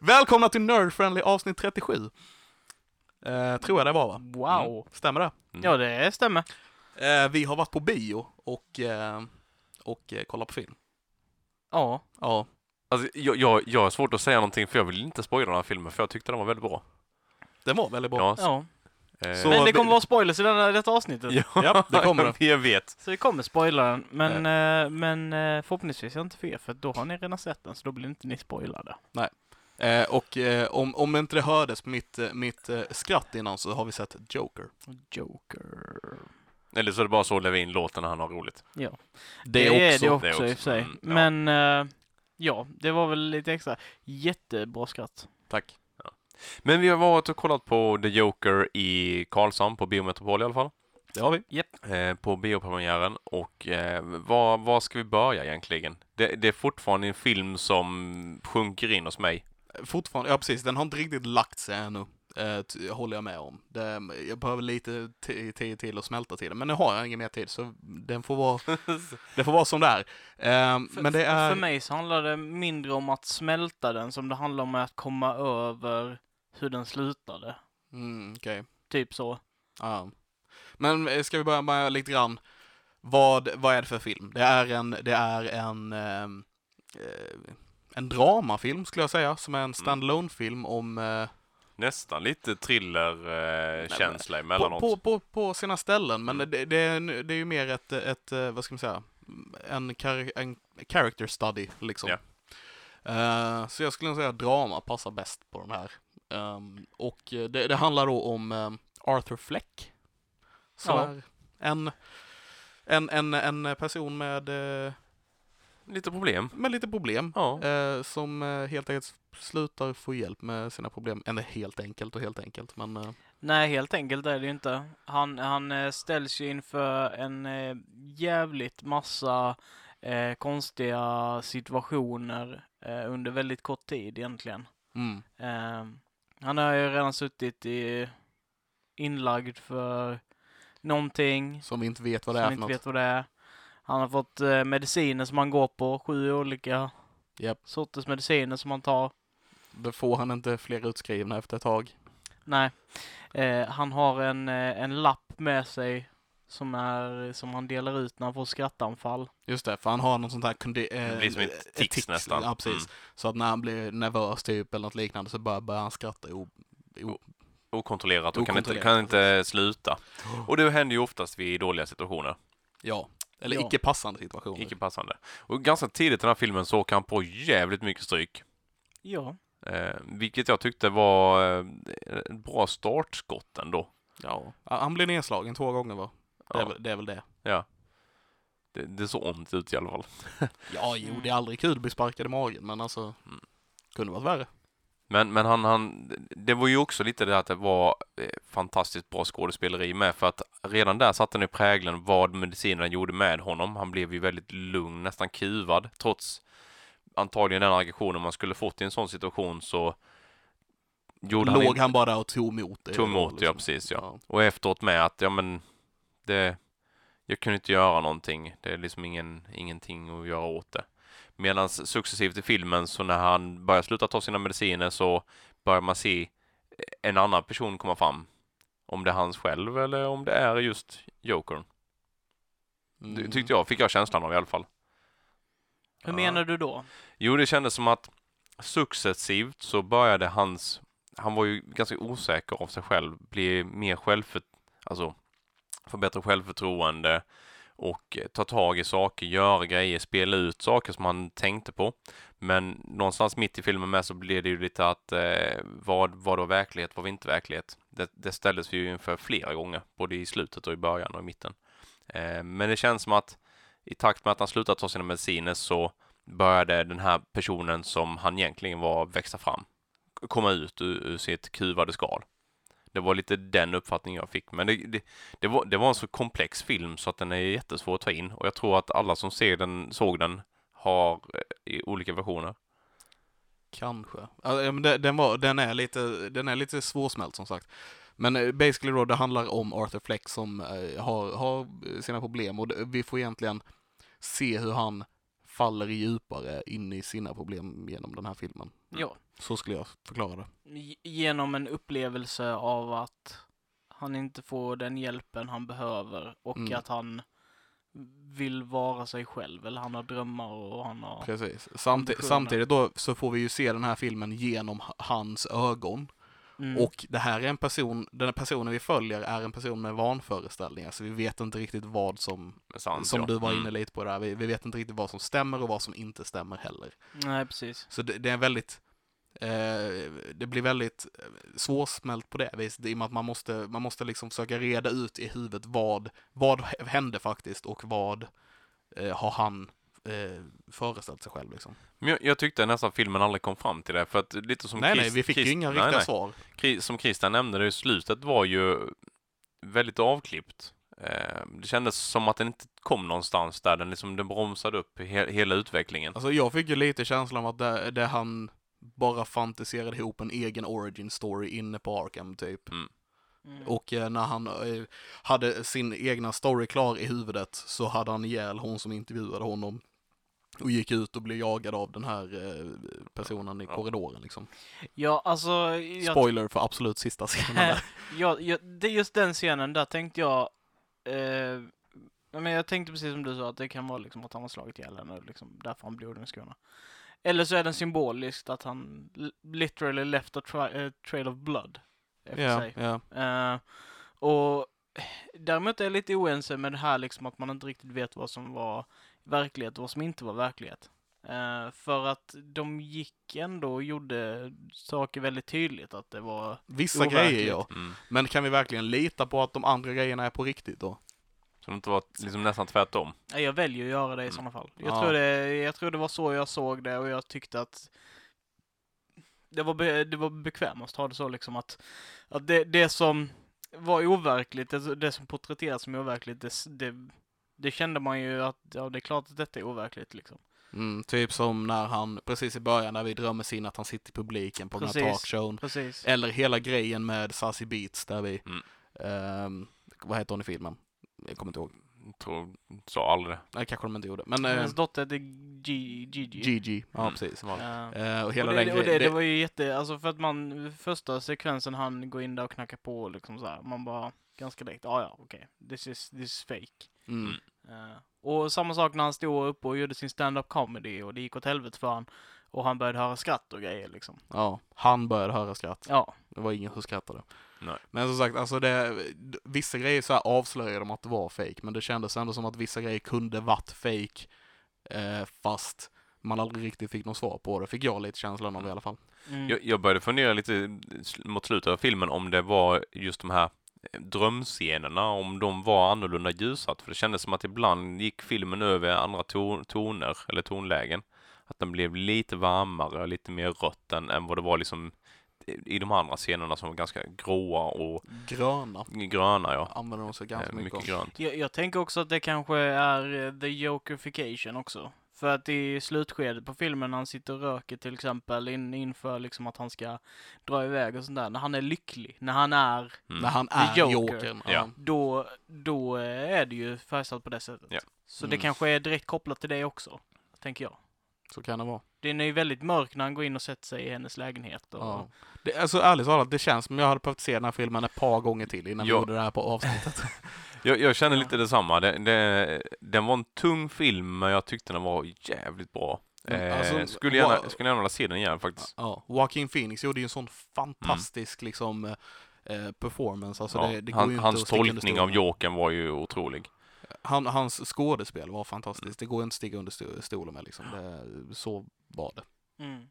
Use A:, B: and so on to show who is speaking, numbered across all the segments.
A: Välkomna till Nerd Friendly avsnitt 37. Eh, tror jag det var va?
B: Wow.
A: Stämmer det?
B: Ja, det stämmer.
A: Eh, vi har varit på bio och, eh, och eh, kollat på film.
B: Ja.
A: Ja,
C: Alltså, jag, jag, jag har svårt att säga någonting för jag vill inte spoila den här filmen för jag tyckte den var väldigt bra.
A: den var väldigt bra.
C: Ja, s-
B: ja.
C: eh,
A: Så-
B: Men det kommer vara spoilers i denna, detta avsnittet.
C: ja,
A: Ja, det kommer den.
C: Jag vet.
B: Så vi kommer spoila den. Men, eh, men eh, förhoppningsvis är jag inte fel för då har ni redan sett den så då blir inte ni spoilade.
A: Eh, och eh, om, om inte det hördes på mitt, eh, mitt eh, skratt innan så har vi sett Joker.
B: Joker.
C: Eller så är det bara så Levin låter när han har roligt.
A: Det,
B: är
A: också.
B: det också,
C: det också.
B: i och för sig.
C: Mm, ja.
B: Men eh, ja, det var väl lite extra. Jättebra skratt.
A: Tack.
C: Men vi har varit och kollat på The Joker i Karlshamn, på Biometropol i alla fall.
A: Det har vi.
C: eh, på biopremiären och eh, var, var ska vi börja egentligen? Det, det är fortfarande en film som sjunker in hos mig.
A: Fortfarande, ja precis, den har inte riktigt lagt sig ännu. Eh, t- håller jag med om. Det, jag behöver lite ti- tid till att smälta till den, men nu har jag ingen mer tid så den får vara, det får vara som det är. Eh,
B: För,
A: men det är...
B: för mig så handlar det mindre om att smälta den som det handlar om att komma över hur den slutade.
A: Mm, okej.
B: Typ så.
A: Ja. Men eh, ska vi börja med lite grann, vad, vad är det för film? Det är en, det är en, ehm, eh, en dramafilm skulle jag säga, som är en standalone film om, eh,
C: Nästan lite thriller-känsla
A: på,
C: emellanåt.
A: på, på, på sina ställen, men
C: Mm.
A: det, det, är, nu- det är ju mer ett, ett, eh, vad ska man säga, en, char- en character study liksom.
C: Ja.
A: Eh, så jag skulle nog säga att drama passar bäst på de här. Ehm, och eh, det, det handlar då om ehm, Arthur Fleck. Som
B: Ja.
A: är en, en, en, en person med, eh,
C: Lite problem.
A: med lite problem.
C: Ja.
A: eh, som eh, helt enkelt slutar få hjälp med sina problem. Eller helt enkelt och helt enkelt. Men eh,
B: Nej, helt enkelt är det ju inte. Han, han eh, ställs ju inför en eh, jävligt massa eh, konstiga situationer eh, under väldigt kort tid egentligen.
A: mm,
B: Eh, han har ju redan suttit i, inlagd för någonting
A: som vi inte vet vad det
B: som
A: är
B: vi
A: för
B: inte
A: något.
B: vet vad det är. Han har fått eh, mediciner som han går på, sju olika
A: Japp.
B: sorters mediciner som han tar.
A: Då får han inte fler utskrivna efter ett tag.
B: Nej. Eh, han har en, eh, en lapp med sig som, är, som han delar ut när han får skrattanfall.
A: Just det, för han har någon sån där... Kondi-
C: Det
A: eh,
C: blir som ett tics nästan.
A: Ja, precis.
C: Mm.
A: Så att när han blir nervös typ eller något liknande så bara börjar han skratta o- o-
C: Okontrollerat och kan inte,
A: Okontrollerat,
C: kan inte sluta. Och det händer ju oftast vid dåliga situationer.
A: Ja. Eller
B: Ja.
A: icke passande situationer.
C: Icke passande. Och ganska tidigt i den här filmen så åker han på jävligt mycket stryk.
B: Ja.
C: Eh, vilket jag tyckte var eh, ett bra startskott ändå.
A: Ja. Ja, Han blir nedslagen två gånger va? Det, är,
C: Ja,
A: väl- det är väl det.
C: det, det såg ont ut i alla fall.
A: Ja, jo, det är aldrig kul att bli sparkad i magen men alltså...
C: Mm.
A: Kunde varit värre.
C: Men, men han, han, det var ju också lite det att det var eh, fantastiskt bra skådespeleri med för att redan där satte han ju prägeln vad medicinerna gjorde med honom. Han blev ju väldigt lugn, nästan kuvad trots antagligen den aggressionen man skulle fått i en sån situation så gjorde han,
A: Låg
C: inte- liksom?
A: han bara där och tog emot det.
C: Tog
A: Det var
C: emot det, ja, precis, ja.
A: ja.
C: och efteråt med att ja men det, jag kunde inte göra någonting. Det är liksom ingen, ingenting att göra åt det. Medan successivt i filmen så när han börjar sluta ta sina mediciner så börjar man se eh, en annan person komma fram. Om det är hans själv eller om det är just Jokern. Det
A: Mm.
C: tyckte jag, fick jag känslan av i alla fall.
B: Hur
C: Ja.
B: menar du då?
A: Mm.
C: Jo, det kändes som att successivt så började hans, han var ju ganska osäker av sig själv, bli mer självför, alltså förbättra självförtroende och eh, ta tag i saker, göra grejer, spela ut saker som han tänkte på. Men någonstans mitt i filmen med så blev det ju lite att eh, vad var då verklighet, vad var inte verklighet? Det, det ställdes vi ju inför flera gånger, både i slutet och i början och i mitten. Eh, men det känns som att i takt med att han slutade ta sina mediciner så började den här personen som han egentligen var växa fram, k- komma ut ur, ur sitt kuvade skal. Det var lite den uppfattningen jag fick, men det, det, det, var, det var en så komplex film så att den är jättesvår att ta in och jag tror att alla som ser den, såg den har eh, i olika versioner.
A: Kanske. Ja, men de- den, var, den, är lite, den är lite svårsmält som sagt. Men eh, basically då, det handlar om Arthur Fleck som eh, har, har sina problem och det- vi får egentligen se hur han faller djupare in i sina problem genom den här filmen.
B: Ja,
A: Så skulle jag förklara det.
B: Ge- genom en upplevelse av att han inte får den hjälpen han behöver och
A: Mm.
B: att han vill vara sig själv eller han har drömmar och han har...
A: Precis. Samti-
B: Ambitioner.
A: samtidigt då så får vi ju se den här filmen genom h- hans ögon.
B: Mm.
A: Och det här är en person, den här personen vi följer är en person med vanföreställningar så vi vet inte riktigt vad som,
C: Men sant,
A: som
C: ja.
A: du var
C: Mm.
A: inne lite på där, vi, vi vet inte riktigt vad som stämmer och vad som inte stämmer heller.
B: Nej, precis.
A: Så det, det är väldigt, eh, det blir väldigt eh, svårsmält på det viset i och med att man måste, man måste liksom försöka reda ut i huvudet vad, vad h- hände faktiskt och vad eh, har han eh, föreställt sig själv liksom.
C: Men jag, jag tyckte nästan filmen aldrig kom fram till det, för att lite som
A: nej,
C: Chris-
A: nej, vi fick
C: Chris-
A: ju inga
C: Mm, nej,
A: riktiga
C: nej.
A: svar.
C: Kri- som Christian nämnde, det i slutet var ju väldigt avklippt. Eh, Det kändes som att den inte kom någonstans där, den, liksom, den bromsade upp he- hela utvecklingen.
A: Alltså jag fick ju lite känslan av att det, det han bara fantiserade ihop en egen origin story inne på Arkham typ.
B: Mm.
A: Och eh, när han eh, hade sin egna story klar i huvudet så hade han ihjäl hon som intervjuade honom och gick ut och blev jagad av den här eh, personen i
C: Ja.
A: korridoren liksom.
B: Ja, alltså... Jag,
A: Spoiler för absolut sista scenen där.
B: Ja, ja, det är just den scenen, där tänkte jag... Eh, ja, men jag tänkte precis som du sa, att det kan vara liksom att han har slagit ihjäl henne, liksom, därför han blodade i skorna. Eller så är den symboliskt att han li- literally left a tra- eh, trail of blood efter
A: Ja,
B: sig.
A: ja.
B: Eh, och däremot är jag lite oense med det här liksom att man inte riktigt vet vad som var verklighet och vad som inte var verklighet. Eh, för att de gick ändå och gjorde saker väldigt tydligt att det var
A: Vissa
B: Overkligt.
A: grejer ja.
C: Mm.
A: Men kan vi verkligen lita på att de andra grejerna är på riktigt då?
C: Så det inte var liksom nästan tvärtom.
B: Ja, Jag väljer att göra det i
C: Mm.
B: sådana fall. Jag,
A: Ja.
B: tror det, jag tror det var så jag såg det och jag tyckte att det var, be, det var bekvämast att ha det så liksom att, att det, det som var overkligt, det, det som porträtteras som overkligt, det, s- det, det kände man ju att ja, det är klart att detta är overkligt liksom.
A: Mm, typ som när han, precis i början när vi drömmer sig in att han sitter i publiken på den här
B: Precis.
A: talkshowen.
B: Precis.
A: Eller hela grejen med Sassy Beats där vi,
C: Mm.
A: ehm, vad heter hon i filmen? Jag kommer inte ihåg.
C: Jag tror, sa aldrig det.
A: Nej, kanske de inte gjorde. Men eh,
B: Hennes dotter hette G- Gigi.
A: Gigi, ja
C: Mm.
A: precis.
C: Som aldrig.
B: Eh,
A: Eh, och hela
B: och det,
A: den
B: och det,
A: grejen.
B: det var ju jätte, alltså för att man, första sekvensen han går in där och knackar på liksom så här, man bara ganska direkt, ah, ja okej, this is, this is fake.
A: mm.
B: Eh, och samma sak när han stod uppe och gjorde sin stand-up comedy och det gick åt helvete för han och han började höra skratt och grejer liksom.
A: Ja, han började höra skratt.
B: Ja,
A: Det var ingen som skrattade.
C: Nej.
A: Men som sagt, alltså det, vissa grejer så här avslöjade de att det var fake, men det kändes ändå som att vissa grejer kunde varit fake, eh, fast man aldrig riktigt fick något svar på det, fick jag lite känslan av i alla fall.
B: mm,
C: Jag, jag började fundera lite sl- mot slutet av filmen om det var just de här eh, drömscenerna, om de var annorlunda ljussatt. För det kändes som att ibland gick filmen över andra ton, toner eller tonlägen. Att den blev lite varmare, lite mer rött än, än vad det var liksom i- i de andra scenerna som var ganska gråa och
A: Gröna
C: gröna. Ja.
A: använder de sig
C: Eh,
A: ganska mycket
C: Mycket
A: om.
C: grönt.
B: jag, jag tänker också att det kanske är eh, the jokerification också. För att i slutskedet på filmen när han sitter och röker till exempel in, inför liksom att han ska dra iväg och sånt där, när han är lycklig, när han är
C: Mm.
A: När han
B: The
A: är
B: Joker.
A: jokern.
C: Ja.
B: då, då eh, är det ju färgsatt på det sättet.
C: Ja.
B: Så det
A: Mm.
B: kanske är direkt kopplat till det också, tänker jag.
A: Så kan det vara.
B: Den är ju väldigt mörk när han går in och sätter sig i hennes lägenhet. Och,
A: Ja. Det, alltså ärligt talat, det känns som jag hade behövt se den här filmen ett par gånger till innan
C: Ja.
A: vi gjorde det här på avsnittet.
C: Jag, jag känner
B: Ja.
C: lite detsamma. Det, det, den var en tung film, men jag tyckte den var jävligt bra.
A: Mm,
C: Eh,
A: alltså,
C: skulle, gärna,
A: wow.
C: skulle gärna vilja se den igen faktiskt.
A: Ja, Joaquin Phoenix gjorde ju en sån fantastisk liksom eh, performance. Alltså det, det går
C: han,
A: ju inte
C: hans
A: att sticka under
C: tolkning
A: stol
C: av
A: med.
C: Jokern var ju otrolig.
A: Han, hans skådespel var fantastiskt. Det går inte att sticka under sto- stolen med liksom. Det, så var det.
B: Mm.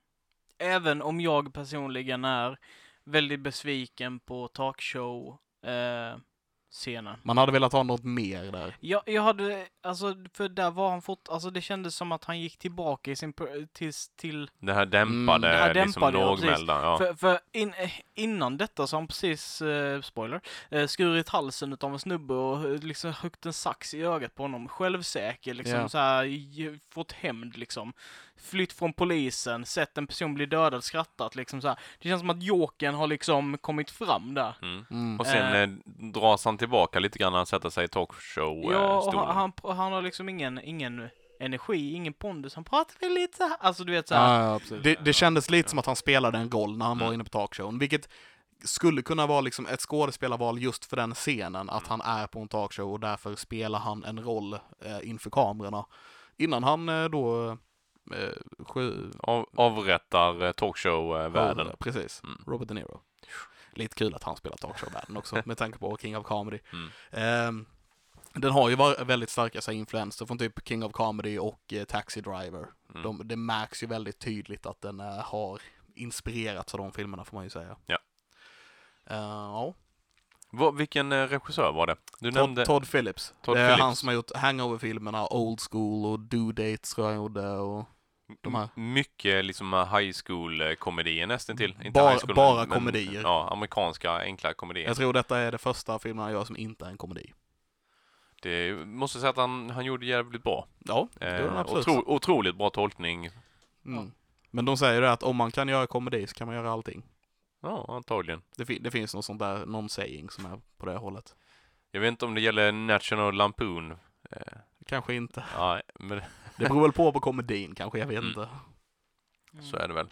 B: Även om jag personligen är väldigt besviken på eh, talkshow-scenen.
A: Man hade velat ha något mer där.
B: jag, jag hade, alltså, för där var han fort, alltså det kändes som att han gick tillbaka i sin, pr- till, till
C: Det här
A: Mm,
C: dämpade,
A: det
B: här
C: liksom
B: dämpade, ja, precis.
C: lågmälda. Ja.
B: För, för in, eh, innan detta så har han precis, eh, spoiler, eh, skurit halsen utav en snubbe och eh, liksom högt en sax i ögat på honom. Självsäker, liksom
A: Ja.
B: så här, ge- fått hämnd liksom. Flytt från polisen, sett en person bli dödad, skrattat liksom så här. Det känns som att joken har liksom kommit fram där.
C: Mm.
A: Mm.
C: Och sen
B: Eh.
C: eh, dras han tillbaka lite grann när han sätter sig i eh,
B: ja, och
A: Oh,
C: talkshow-stolen.
B: han, han, han har liksom ingen, ingen energi, ingen pondus. Han pratar väl lite så här. Alltså du vet så här.
A: Ja, Mm. ja, absolut. det, det kändes lite som att han spelade en roll när han var inne på talkshowen, vilket skulle kunna vara liksom ett skådespelarval just för den scenen, att han är på en talkshow och därför spelar han en roll eh, inför kamerorna. Innan han eh, då eh, sjö,
C: Av, avrättar eh, talkshow-världen.
A: Ja, Precis.
C: Mm.
A: Robert De Niro. Lite kul att han spelar talkshow-världen också, med tanke på King of Comedy.
C: Mm.
A: Ehm, den har ju var- väldigt starka så här, influenser från typ King of Comedy och eh, Taxi Driver.
C: Mm.
A: De, det märks ju väldigt tydligt att den eh, har inspirerats av de filmerna får man ju säga.
C: Ja.
A: Eh, ja.
C: Vad- vilken eh, regissör var det? Du nämnde...
A: Todd, Todd Phillips.
C: Todd
A: det är han
C: Phillips.
A: som har gjort Hangover-filmerna, Old School och Do Dates tror jag han gjorde och de här.
C: M- Mycket liksom eh, high school-komedier nästan till. Inte
A: Bara-
C: high school,
A: bara komedier.
C: Ja, amerikanska enkla komedier.
A: Jag tror detta är det första filmen han gör som inte är en komedi.
C: Det måste säga att han, han gjorde jävligt bra.
A: Ja, det tror jag
C: Eh,
A: absolut.
C: otro, otroligt bra tolkning.
A: Mm. Men de säger ju det att om man kan göra komedi så kan man göra allting.
C: Ja, antagligen.
A: Det, fi- det finns någon sån där, någon saying som är på det hållet.
C: Jag vet inte om det gäller National Lampoon. Eh,
A: Kanske inte.
C: nej, men
A: Det beror väl på på komedin kanske, jag vet
C: Mm.
A: inte.
B: Mm.
C: så är det väl.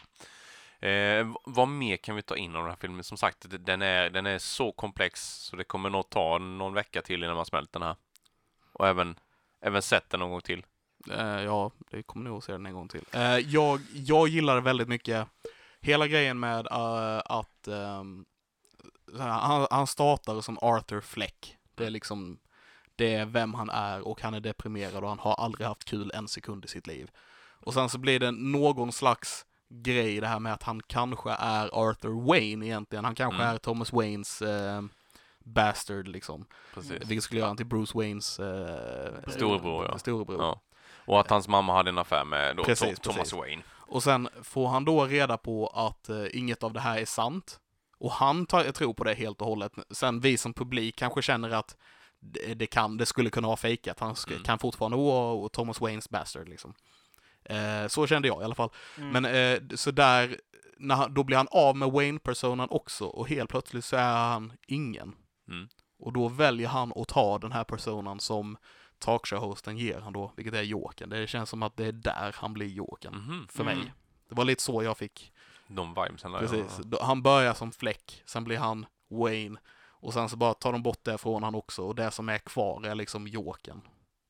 C: Eh, v- vad mer kan vi ta in av den här filmen? Som sagt, d- den är, den är så komplex så det kommer nog ta någon vecka till innan man smälter den här. Och även, även sett den någon gång till.
A: Eh, ja, det kommer nog att se den en gång till. Eh, jag, jag gillar väldigt mycket hela grejen med eh, att ehm, så här, han, han startar som Arthur Fleck. Det är liksom det är vem han är och han är deprimerad och han har aldrig haft kul en sekund i sitt liv. Och sen så blir det någon slags grej i det här med att han kanske är Arthur Wayne egentligen. Han kanske
C: Mm.
A: är Thomas Waynes eh, bastard liksom.
C: Precis.
A: Vilket skulle göra han till Bruce Waynes eh,
C: Storebror, ja.
A: storebror.
C: Ja. Och att hans mamma hade en affär med då,
A: Precis,
C: Tom- Thomas
A: precis.
C: Wayne.
A: Och sen får han då reda på att eh, inget av det här är sant. Och han tar, jag tror på det helt och hållet. Sen vi som publik kanske känner att det, det, kan, det skulle kunna vara fejkat. Han sk-
C: Mm.
A: kan fortfarande vara och Thomas Waynes bastard liksom. Eh, så kände jag i alla fall.
B: Mm.
A: Men eh, så där, när han, då blir han av med Wayne-personan också och helt plötsligt så är han ingen.
C: Mm.
A: Och då väljer han att ta den här personan som talkshow-hosten ger han då, vilket är Jokern. Det känns som att det är där han blir Jokern.
C: Mhm.
A: för
B: Mm.
A: mig. Det var lite så jag fick.
C: De vibesen där.
A: Precis. Då- Han börjar som Fleck, sen blir han Wayne och sen så bara tar de bort det från han också och det som är kvar är liksom Jokern.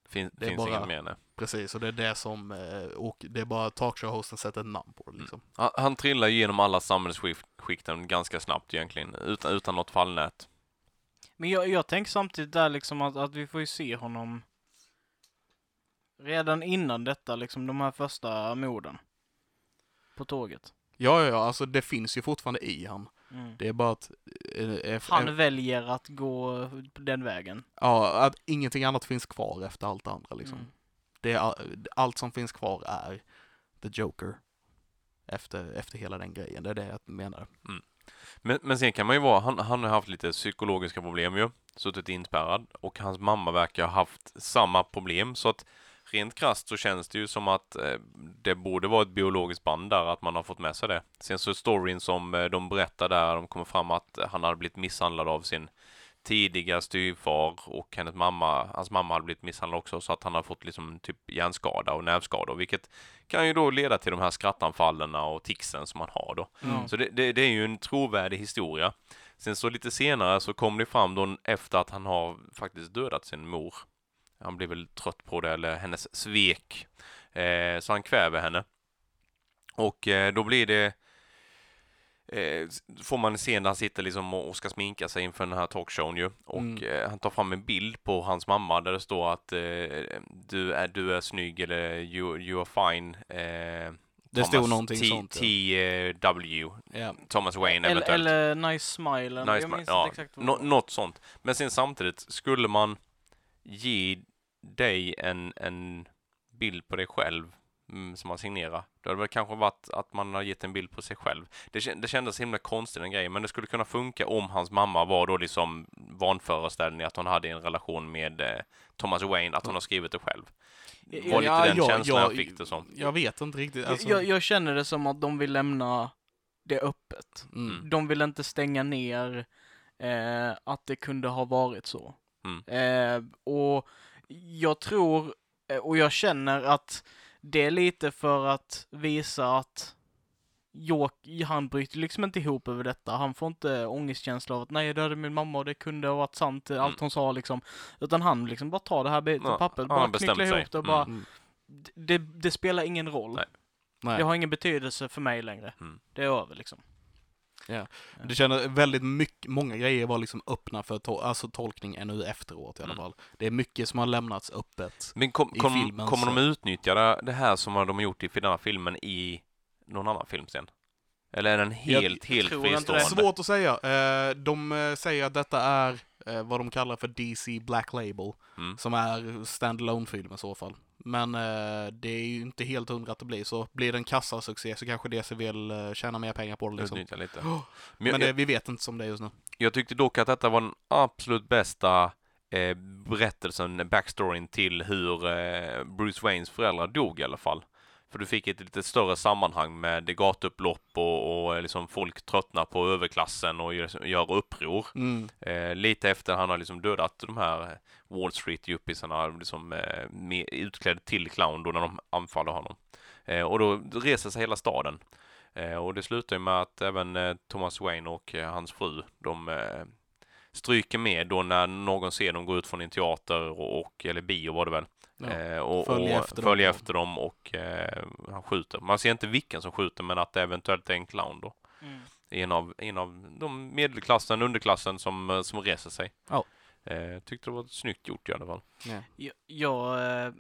C: Fin,
A: Det är
C: finns
A: bara-
C: inget mer nej.
A: Precis, och det är det som, eh, och det är bara talkshow-hosten sätter ett namn på det liksom.
C: Han, han trillar ju genom alla samhällsskikten ganska snabbt egentligen, utan, utan något fallnät.
B: Men jag, jag tänker samtidigt där liksom att, att vi får ju se honom redan innan detta, liksom de här första morden. På tåget.
A: Ja, ja, ja, alltså det finns ju fortfarande i han.
B: Mm.
A: Det är bara att... eh, eh,
B: Han
A: eh,
B: väljer att gå den vägen.
A: ja, att ingenting annat finns kvar efter allt det andra liksom.
B: Mm.
A: Det är, all- allt som finns kvar är The Joker. Efter, efter hela den grejen, det är det jag menar.
C: Men, men sen kan man ju vara, han, han har haft lite psykologiska problem ju, suttit inspärrad och hans mamma verkar ha haft samma problem så att rent krasst så känns det ju som att eh, det borde vara ett biologiskt band där, att man har fått med sig det. Sen så storyn som eh, de berättar där, de kommer fram att eh, han hade blivit misshandlad av sin tidiga styvfar och hennes mamma, hans mamma hade blivit misshandlad också så att han har fått liksom typ hjärnskada och nervskador vilket kan ju då leda till de här skrattanfallen och ticsen som man har då.
B: Ja.
C: Så det, det, det är ju en trovärdig historia. Sen så lite senare så kom det fram då efter att han har faktiskt dödat sin mor. Han blir väl trött på det eller hennes svek. Eh, så han kväver henne. Och eh, då blir det eh, s- får man en scen där han sitter liksom och och ska sminka sig inför den här talkshowen ju. Och
A: Mm.
C: eh, han tar fram en bild på hans mamma där det står att eh, du, är, du är snygg eller you, you are fine. Eh,
A: Det
C: Thomas
A: stod någonting
C: T- eh,
A: sånt. ja.
C: TW,
A: Ja.
C: Thomas Wayne
B: Eller,
C: eventuellt.
B: eller Nice Smile.
C: Nice
B: jag
C: Smile,
B: minns
C: ja.
B: inte exakt vad
C: Nå-
B: det var.
C: något sånt. Men sen samtidigt, skulle man ge dig en, en bild på dig själv mm, som man signerar, då hade det kanske varit att man har gett en bild på sig själv. Det, kän- det kändes himla konstigt den grejen, men det skulle kunna funka om hans mamma var då liksom vanföreställning att hon hade en relation med eh, Thomas Wayne, att hon har skrivit det själv. Det var lite den känslan jag fick det som.
A: Jag vet inte riktigt. Alltså,
B: jag, jag känner det som att de vill lämna det öppet.
A: mm.
B: De vill inte stänga ner eh, att det kunde ha varit så.
C: Mm.
B: Eh, och jag tror Eh, Och jag känner att det är lite för att visa att York, han bryter liksom inte ihop över detta. Han får inte ångestkänsla av att nej, jag dödade min mamma och det kunde ha varit sant, eh, allt
C: Mm.
B: hon sa liksom. Utan han liksom bara tar det här biten
C: Ja,
B: ja, pappret,
C: han
B: bara
C: har bestämt
B: knycklar
C: sig.
B: ihop det och
C: Mm.
B: bara,
A: Mm.
B: d- det, det spelar ingen roll.
C: Nej.
A: Nej.
B: Det har ingen betydelse för mig längre.
C: Mm.
B: Det är över liksom.
A: Det känner väldigt mycket, många grejer var liksom öppna för tol- alltså tolkning ännu efteråt i alla
C: Mm.
A: fall. Det är mycket som har lämnats öppet.
C: Men kom,
A: I
C: kom,
A: filmen
C: kommer
A: så-
C: de utnyttja det- det här som de har gjort i den här filmen i någon annan film sen? Eller är den helt,
B: jag
C: helt
B: tror inte det.
A: Det är
C: fristående?
A: svårt att säga. Eh, De eh, säger att detta är eh, vad de kallar för DC Black Label,
C: Mm.
A: som är standalone film i så fall. Men eh, det är ju inte helt hundra att det blir så. Blir det en kassasuccé så kanske DC vill eh, tjäna mer pengar på det liksom.
C: Utnyttja lite.
A: Oh,
C: Men jag,
A: Men det, vi vet inte som det är just nu.
C: jag tyckte dock att detta var den absolut bästa eh, berättelsen, backstoryn till hur eh, Bruce Waynes föräldrar dog i alla fall. För du fick ett lite större sammanhang med det gatuupplopp och, och eh, liksom folk tröttnar på överklassen och gör, gör uppror.
A: Mm.
C: Eh, lite efter han har liksom dödat de här Wall Street-juppisarna, liksom, eh, med, utklädd till clown då när de anfaller honom. Eh, och då reser sig hela staden. Eh, och det slutar ju med att även eh, Thomas Wayne och eh, hans fru, de eh, stryker med då när någon ser dem gå ut från en teater och, och eller bio var det väl.
A: Ja.
C: Eh, och
A: Följa
C: följer
A: efter
C: efter,
A: dem.
C: följa efter dem och eh, han skjuter. Man ser inte vilken som skjuter men att det eventuellt är en clown då en av, en av de medelklassen, underklassen som, eh, som reser sig.
A: Ja.
C: Eh, tyckte det var snyggt gjort i alla fall.
B: Jag, jag eh,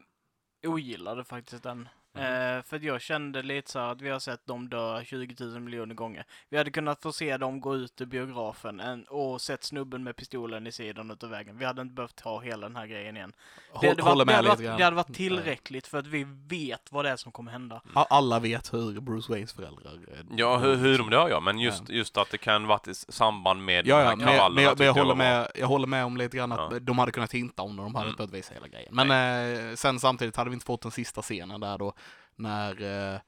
B: ogillade faktiskt den.
A: Mhm.
B: Eh, för att jag kände lite så här att vi har sett dem dö 20 000 miljoner gånger. Vi hade kunnat få se dem gå ut ur biografen en, och sett snubben med pistolen i sidan utav vägen. Vi hade inte behövt ha hela den här grejen igen. Det
A: Håll,
B: hade,
A: håller
B: varit, det,
A: med
B: hade
A: lite
B: varit, det
A: grann.
B: hade
C: Mm.
B: varit tillräckligt för att vi vet vad det är som kommer hända.
A: A- Alla vet hur Bruce Waynes föräldrar... eh,
C: Ja, hur, hur de
A: liksom.
C: dör ja, men just, just att det kan vara i s- samband med
A: Ja,
C: de
A: ja,
C: här
A: men, jag- men, jag,
C: tyckte
A: men jag, håller
C: var bra.
A: med, jag håller med om lite grann att
C: Ja.
A: de hade kunnat hinta om det, de hade
C: Mm.
A: inte behövt visa hela grejen. Men eh, sen samtidigt hade vi inte fått den sista scenen där då, när eh,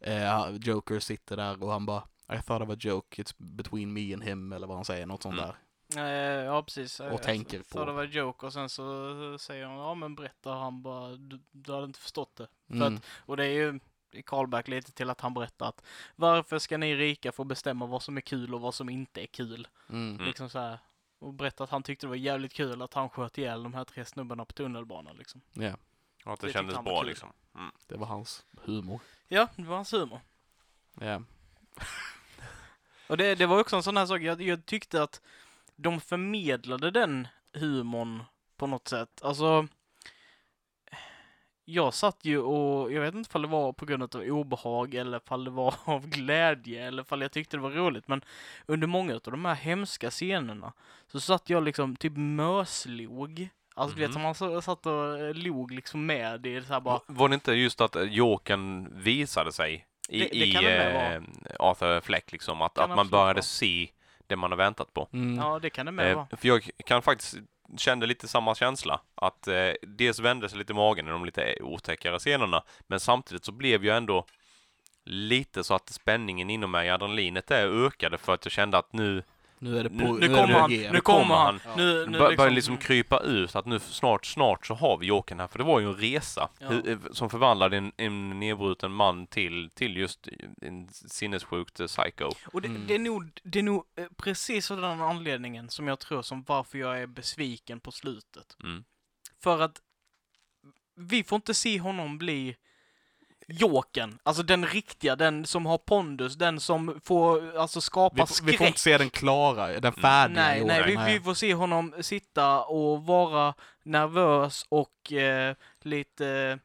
A: eh, Joker sitter där och han bara I thought of a joke, it's between me and him, eller vad han säger, något sånt
C: Mm.
A: där.
B: Eh, ja, precis.
A: Och tänker på-
B: Så det var en joke och sen så säger hon ja men berätta och han bara du, du hade inte förstått det. För
A: Mm.
B: Och det är ju i callback lite till att han berättar att varför ska ni rika få bestämma vad som är kul och vad som inte är kul?
A: Mm.
C: Mm.
B: Liksom så här. Och berättar att han tyckte det var jävligt kul att han sköt ihjäl de här tre snubbarna på tunnelbanan liksom.
A: Ja,
C: Och Att det,
B: Det tyckte
C: kändes
B: han var
C: bra
B: kul.
C: liksom. Mm.
A: det var hans humor.
B: Ja, det var hans humor.
A: Ja.
B: Och det, det var också en sån här sak, jag, jag tyckte att de förmedlade den humorn på något sätt. Alltså, jag satt ju och, jag vet inte ifall det var på grund av obehag eller ifall det var av glädje eller ifall jag tyckte det var roligt, men under många av de här hemska scenerna så satt jag liksom typ möslog. Alltså du vet,
C: Mhm.
B: som man så- satt och eh, log liksom med i så här bara,
C: Va- Var det inte just att Jokern visade sig i,
B: Det- det
C: i
B: kan det med
C: eh, Arthur Fleck liksom? Att,
B: Kan
C: att man
B: absolut
C: började
B: vara.
C: se det man har väntat på.
A: Mm.
B: ja det kan det med
C: Eh,
B: vara.
C: för jag kan faktiskt kände lite samma känsla. Att eh, dels vände sig lite magen i de lite otäckare scenerna. Men samtidigt så blev jag ändå lite så att spänningen inom mig, adrenalinet där ökade för att jag kände att nu
A: Nu är det på...
C: Nu- nu
A: är det
C: kommer
A: på
C: han,
A: G.
C: nu kommer han.
A: Ja.
B: Nu,
C: nu
B: nu
C: bör, började liksom krypa ut att nu snart, snart så har vi Jokern här. För det var ju en resa
B: Ja.
C: hur- som förvandlade en, en nedbruten man till, till just en sinnessjukt eh, psycho.
B: Och det,
A: Mm.
B: det, är nog, det är nog eh, precis av den anledningen som jag tror som varför jag är besviken på slutet.
C: Mm.
B: För att vi får inte se honom bli Jokern, alltså den riktiga, den som har pondus, den som får alltså skapa
A: Vi, f-
B: skräck.
A: vi får inte se den klara, den färdiga
B: nej,
A: Jokern.
B: nej, vi, vi får se honom sitta och vara nervös och eh, lite...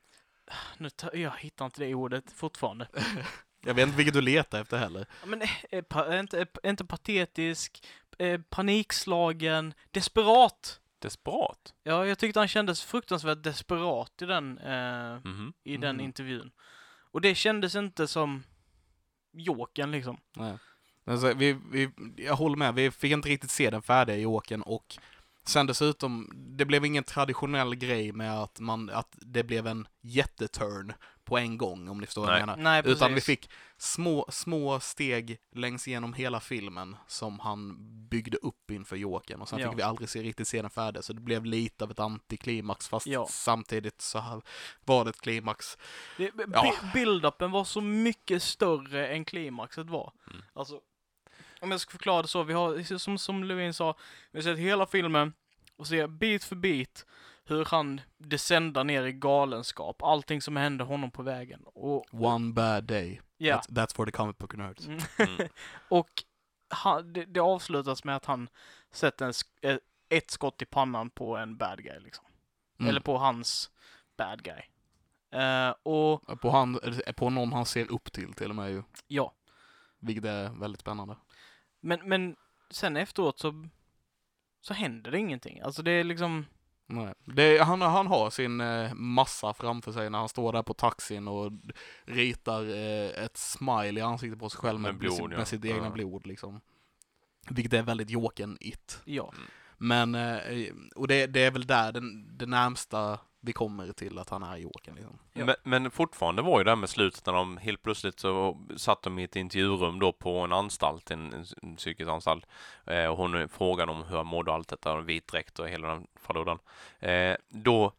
B: eh, Nu ta, jag hittar inte det ordet fortfarande.
A: Jag vet inte vilket du letar efter heller.
B: Ja, Men eh, eh, pa, är inte, är inte patetisk, eh, panikslagen, desperat.
C: Desperat.
B: Ja, jag tyckte han kändes fruktansvärt desperat i den, eh,
C: Mhm.
B: i den
A: Mm.
B: intervjun. Och det kändes inte som Jokern liksom.
A: Nej. Men så, vi, vi, jag håller med, vi fick inte riktigt se den färdiga Jokern och Sen dessutom, det blev ingen traditionell grej med att, man, att det blev en jätteturn på en gång, om ni förstår vad jag
C: Nej.
A: menar.
B: Nej, precis.
A: Utan vi fick små, små steg längs igenom hela filmen som han byggde upp inför Jokern och sen
B: Ja.
A: fick vi aldrig se riktigt se den färdig så det blev lite av ett antiklimax fast
B: Ja.
A: samtidigt så här var det ett klimax.
B: Det, b-
A: Ja.
B: Build-upen var så mycket större än klimaxet var.
C: Mm.
B: Alltså, om jag ska förklara det så, vi har, liksom, som, som Levin sa, vi har sett hela filmen och ser bit för bit hur han descendar ner i galenskap, allting som hände honom på vägen. Och,
A: One bad day.
B: ja.
A: That's, that's for the comic book nerds.
B: Mm.
C: Mm.
B: och han, det, det avslutas med att han sätter en, sk- eh, ett skott i pannan på en bad guy liksom.
A: Mm.
B: Eller på hans bad guy. Eh, och
A: på, han, på någon han ser upp till till och med ju,
B: ja,
A: vilket är väldigt spännande.
B: Men, men sen efteråt så, så händer det ingenting. Alltså det är liksom,
A: Nej. Det, är- han, han har sin eh, massa framför sig när han står där på taxin och ritar eh, ett smile i ansiktet på sig själv med,
C: Med blod,
A: med,
C: ja.
A: med sitt egna
C: Ja.
A: blod liksom. Vilket är väldigt Jokern-it.
B: ja.
A: Men, eh, och det, det är väl där den, det närmsta vi kommer till att han är Jokern liksom.
B: Ja.
C: Men, men fortfarande var ju det här med slutet när de helt plötsligt så satt de i ett intervjurum då på en anstalt, en, en, en psykisk anstalt. Eh, och hon frågade om hur han mådde och allt detta, och vit dräkt och hela den faludan. Eh, då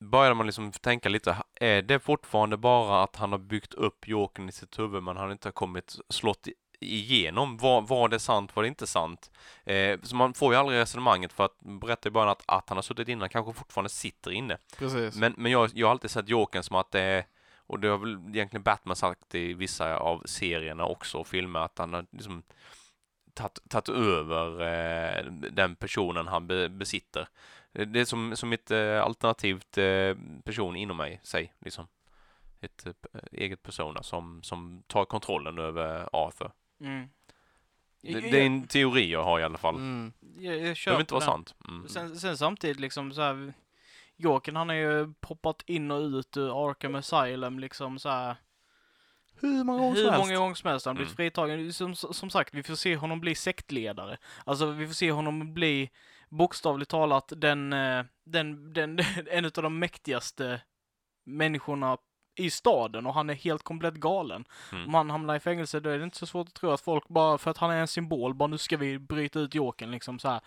C: började man liksom tänka lite, ha- är det fortfarande bara att han har byggt upp Jokern i sitt huvud men han inte har kommit slått i- igenom? Var, var det sant? Var det inte sant? Eh, så man får ju aldrig resonemanget för att berätta i början att, att han har suttit inne, han kanske fortfarande sitter inne.
A: Precis.
C: Men, men jag, jag har alltid sett Jokern som att det är, och det har väl egentligen Batman sagt i vissa av serierna också och filmer, att han har liksom tagit- tagit över eh, den personen han be, besitter. Det är som, som ett eh, alternativt eh, person inom mig, sig, liksom. Ett eh, eget persona som, som tar kontrollen över Arthur.
B: Mm.
C: Det,
B: Jag- jag-
C: det är en teori jag har i alla fall. Det
A: Mm.
B: Jag, jag köper
C: behöver inte vara
B: den.
C: sant. Mm.
B: Sen, sen samtidigt liksom så här, Jokern han har ju poppat in och ut ur Arkham Asylum liksom så här.
A: Hur många gånger
B: Hur
A: som
B: många
A: helst.
B: gånger som helst har han blivit
C: Mm.
B: fritagen. Som, som sagt, vi får se honom bli sektledare. Alltså vi får se honom bli bokstavligt talat den, eh, den, den en av de mäktigaste människorna i staden och han är helt komplett galen.
C: Mm.
B: Om han hamnar i fängelse då är det inte så svårt att tro att folk bara för att han är en symbol bara nu ska vi bryta ut Jokern liksom så här.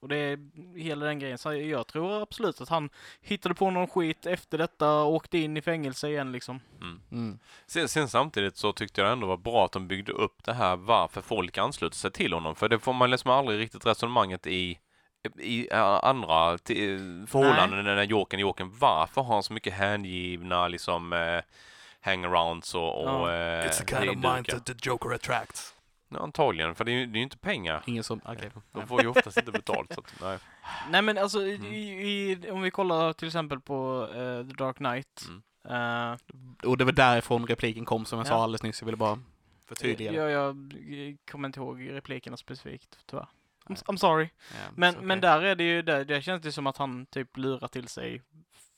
B: Och det är hela den grejen. Så jag tror absolut att han hittade på någon skit efter detta och åkte in i fängelse igen liksom.
C: Mm.
A: Mm.
C: Sen, sen samtidigt så tyckte jag ändå var bra att de byggde upp det här varför folk ansluter sig till honom. För det får man liksom aldrig riktigt resonemanget i, i eh, andra ti- förhållanden när Jokern är Jokern. Varför har han så mycket hängivna liksom eh, hangarounds och, och
B: Ja.
C: eh,
A: It's the kind of mind
C: hejdukar?
A: that the Joker attracts.
C: Ja, antagligen, för det är ju det är ju inte pengar.
A: Ingen som, okej.
C: De får ju oftast inte betalt. Så att, nej.
B: Nej men alltså, i,
C: Mm.
B: i, i, om vi kollar till exempel på eh, The Dark Knight.
C: Mm.
B: eh,
A: Och det var därifrån repliken kom som jag
B: Ja.
A: sa alldeles nyss, jag ville bara förtydliga. det.
B: jag, jag kommer inte ihåg replikerna specifikt, tyvärr. I'm, s- I'm sorry.
A: Ja,
B: Men,
A: så okej.
B: men där är det ju, där, där känns det som att han typ lurar till sig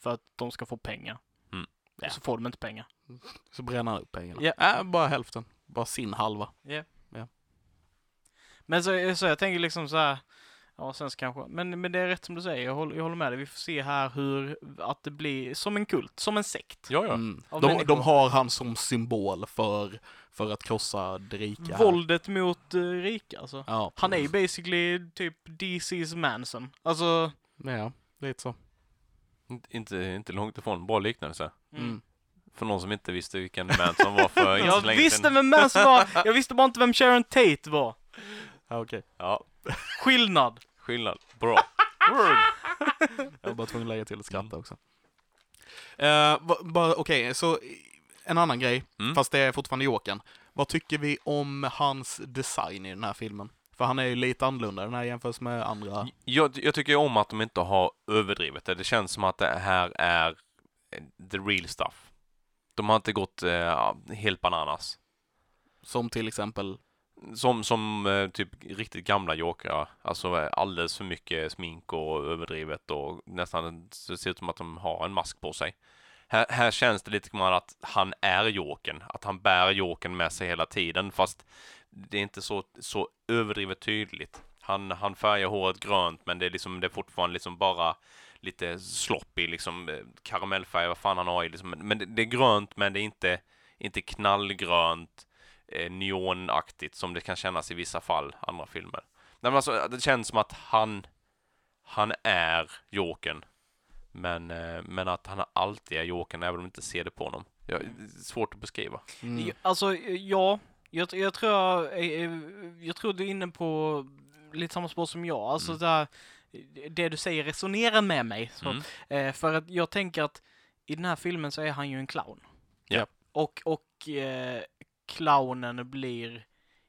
B: för att de ska få pengar.
C: Mm.
B: Och Så får de inte pengar.
A: Så bränner han upp pengarna.
B: Ja.
A: Äh, bara hälften. Bara sin halva.
B: Men så, så jag tänker liksom så här. Ja, sen så kanske. Men, men det är rätt som du säger. Jag håller, jag håller med dig. Vi får se här hur, att det blir som en kult, som en sekt.
C: Ja, ja.
A: Mm.
B: Av
A: De,
B: människor.
A: de har han som symbol för, för att krossa det rika. här.
B: Våldet mot eh, rika alltså.
A: Ja,
B: Han är ju basically typ DC's Manson. Alltså,
A: Ja, lite så.
C: Inte- Inte, inte långt ifrån. Bra liknelse.
B: mm.
A: Mm.
C: För någon som inte visste vilken man som var för inte så
B: jag
C: länge
B: visste
C: sedan.
B: vem Manson var, jag visste bara inte vem Sharon Tate var.
A: Ja, okej.
C: Ja,
B: Skillnad.
C: skillnad. Bra. Word.
A: Jag var bara tvungen att lägga till ett skratt där också. Eh, va- bara, Okej, så en annan grej,
C: Mm.
A: fast det är fortfarande Jokern. Vad tycker vi om hans design i den här filmen? För han är ju lite annorlunda den här jämfört med andra.
C: Jag, jag tycker om att de inte har överdrivet det. Det känns som att det här är eh, the real stuff. De har inte gått eh, helt bananas.
A: Som till exempel,
C: Som, som eh, typ riktigt gamla jokrar. Alltså eh, alldeles för mycket smink och överdrivet och nästan så ser det ut som att de har en mask på sig. Här, här känns det lite grann att han är Jokern. Att han bär Jokern med sig hela tiden fast det är inte så, så överdrivet tydligt. Han, han färgar håret grönt men det är liksom, det är fortfarande liksom bara lite sloppy liksom eh, karamellfärg, vad fan han har i liksom. Men, men det, det är grönt men det är inte, inte knallgrönt, eh, neonaktigt som det kan kännas i vissa fall, andra filmer. Nej men alltså det känns som att han, han är Jokern. Men, eh, men att han alltid är Jokern även om man inte ser det på honom. Ja, det är svårt att beskriva.
A: Mm.
B: Ja, Alltså, eh, ja. Jag, tr- jag tror jag, eh, eh, jag tror du är inne på lite samma spår som jag. Alltså
C: Mm.
B: det, här, eh, det du säger resonerar med mig. Så,
C: Mm.
B: eh, för att jag tänker att i den här filmen så är han ju en clown.
C: Ja.
B: Och, och eh, clownen blir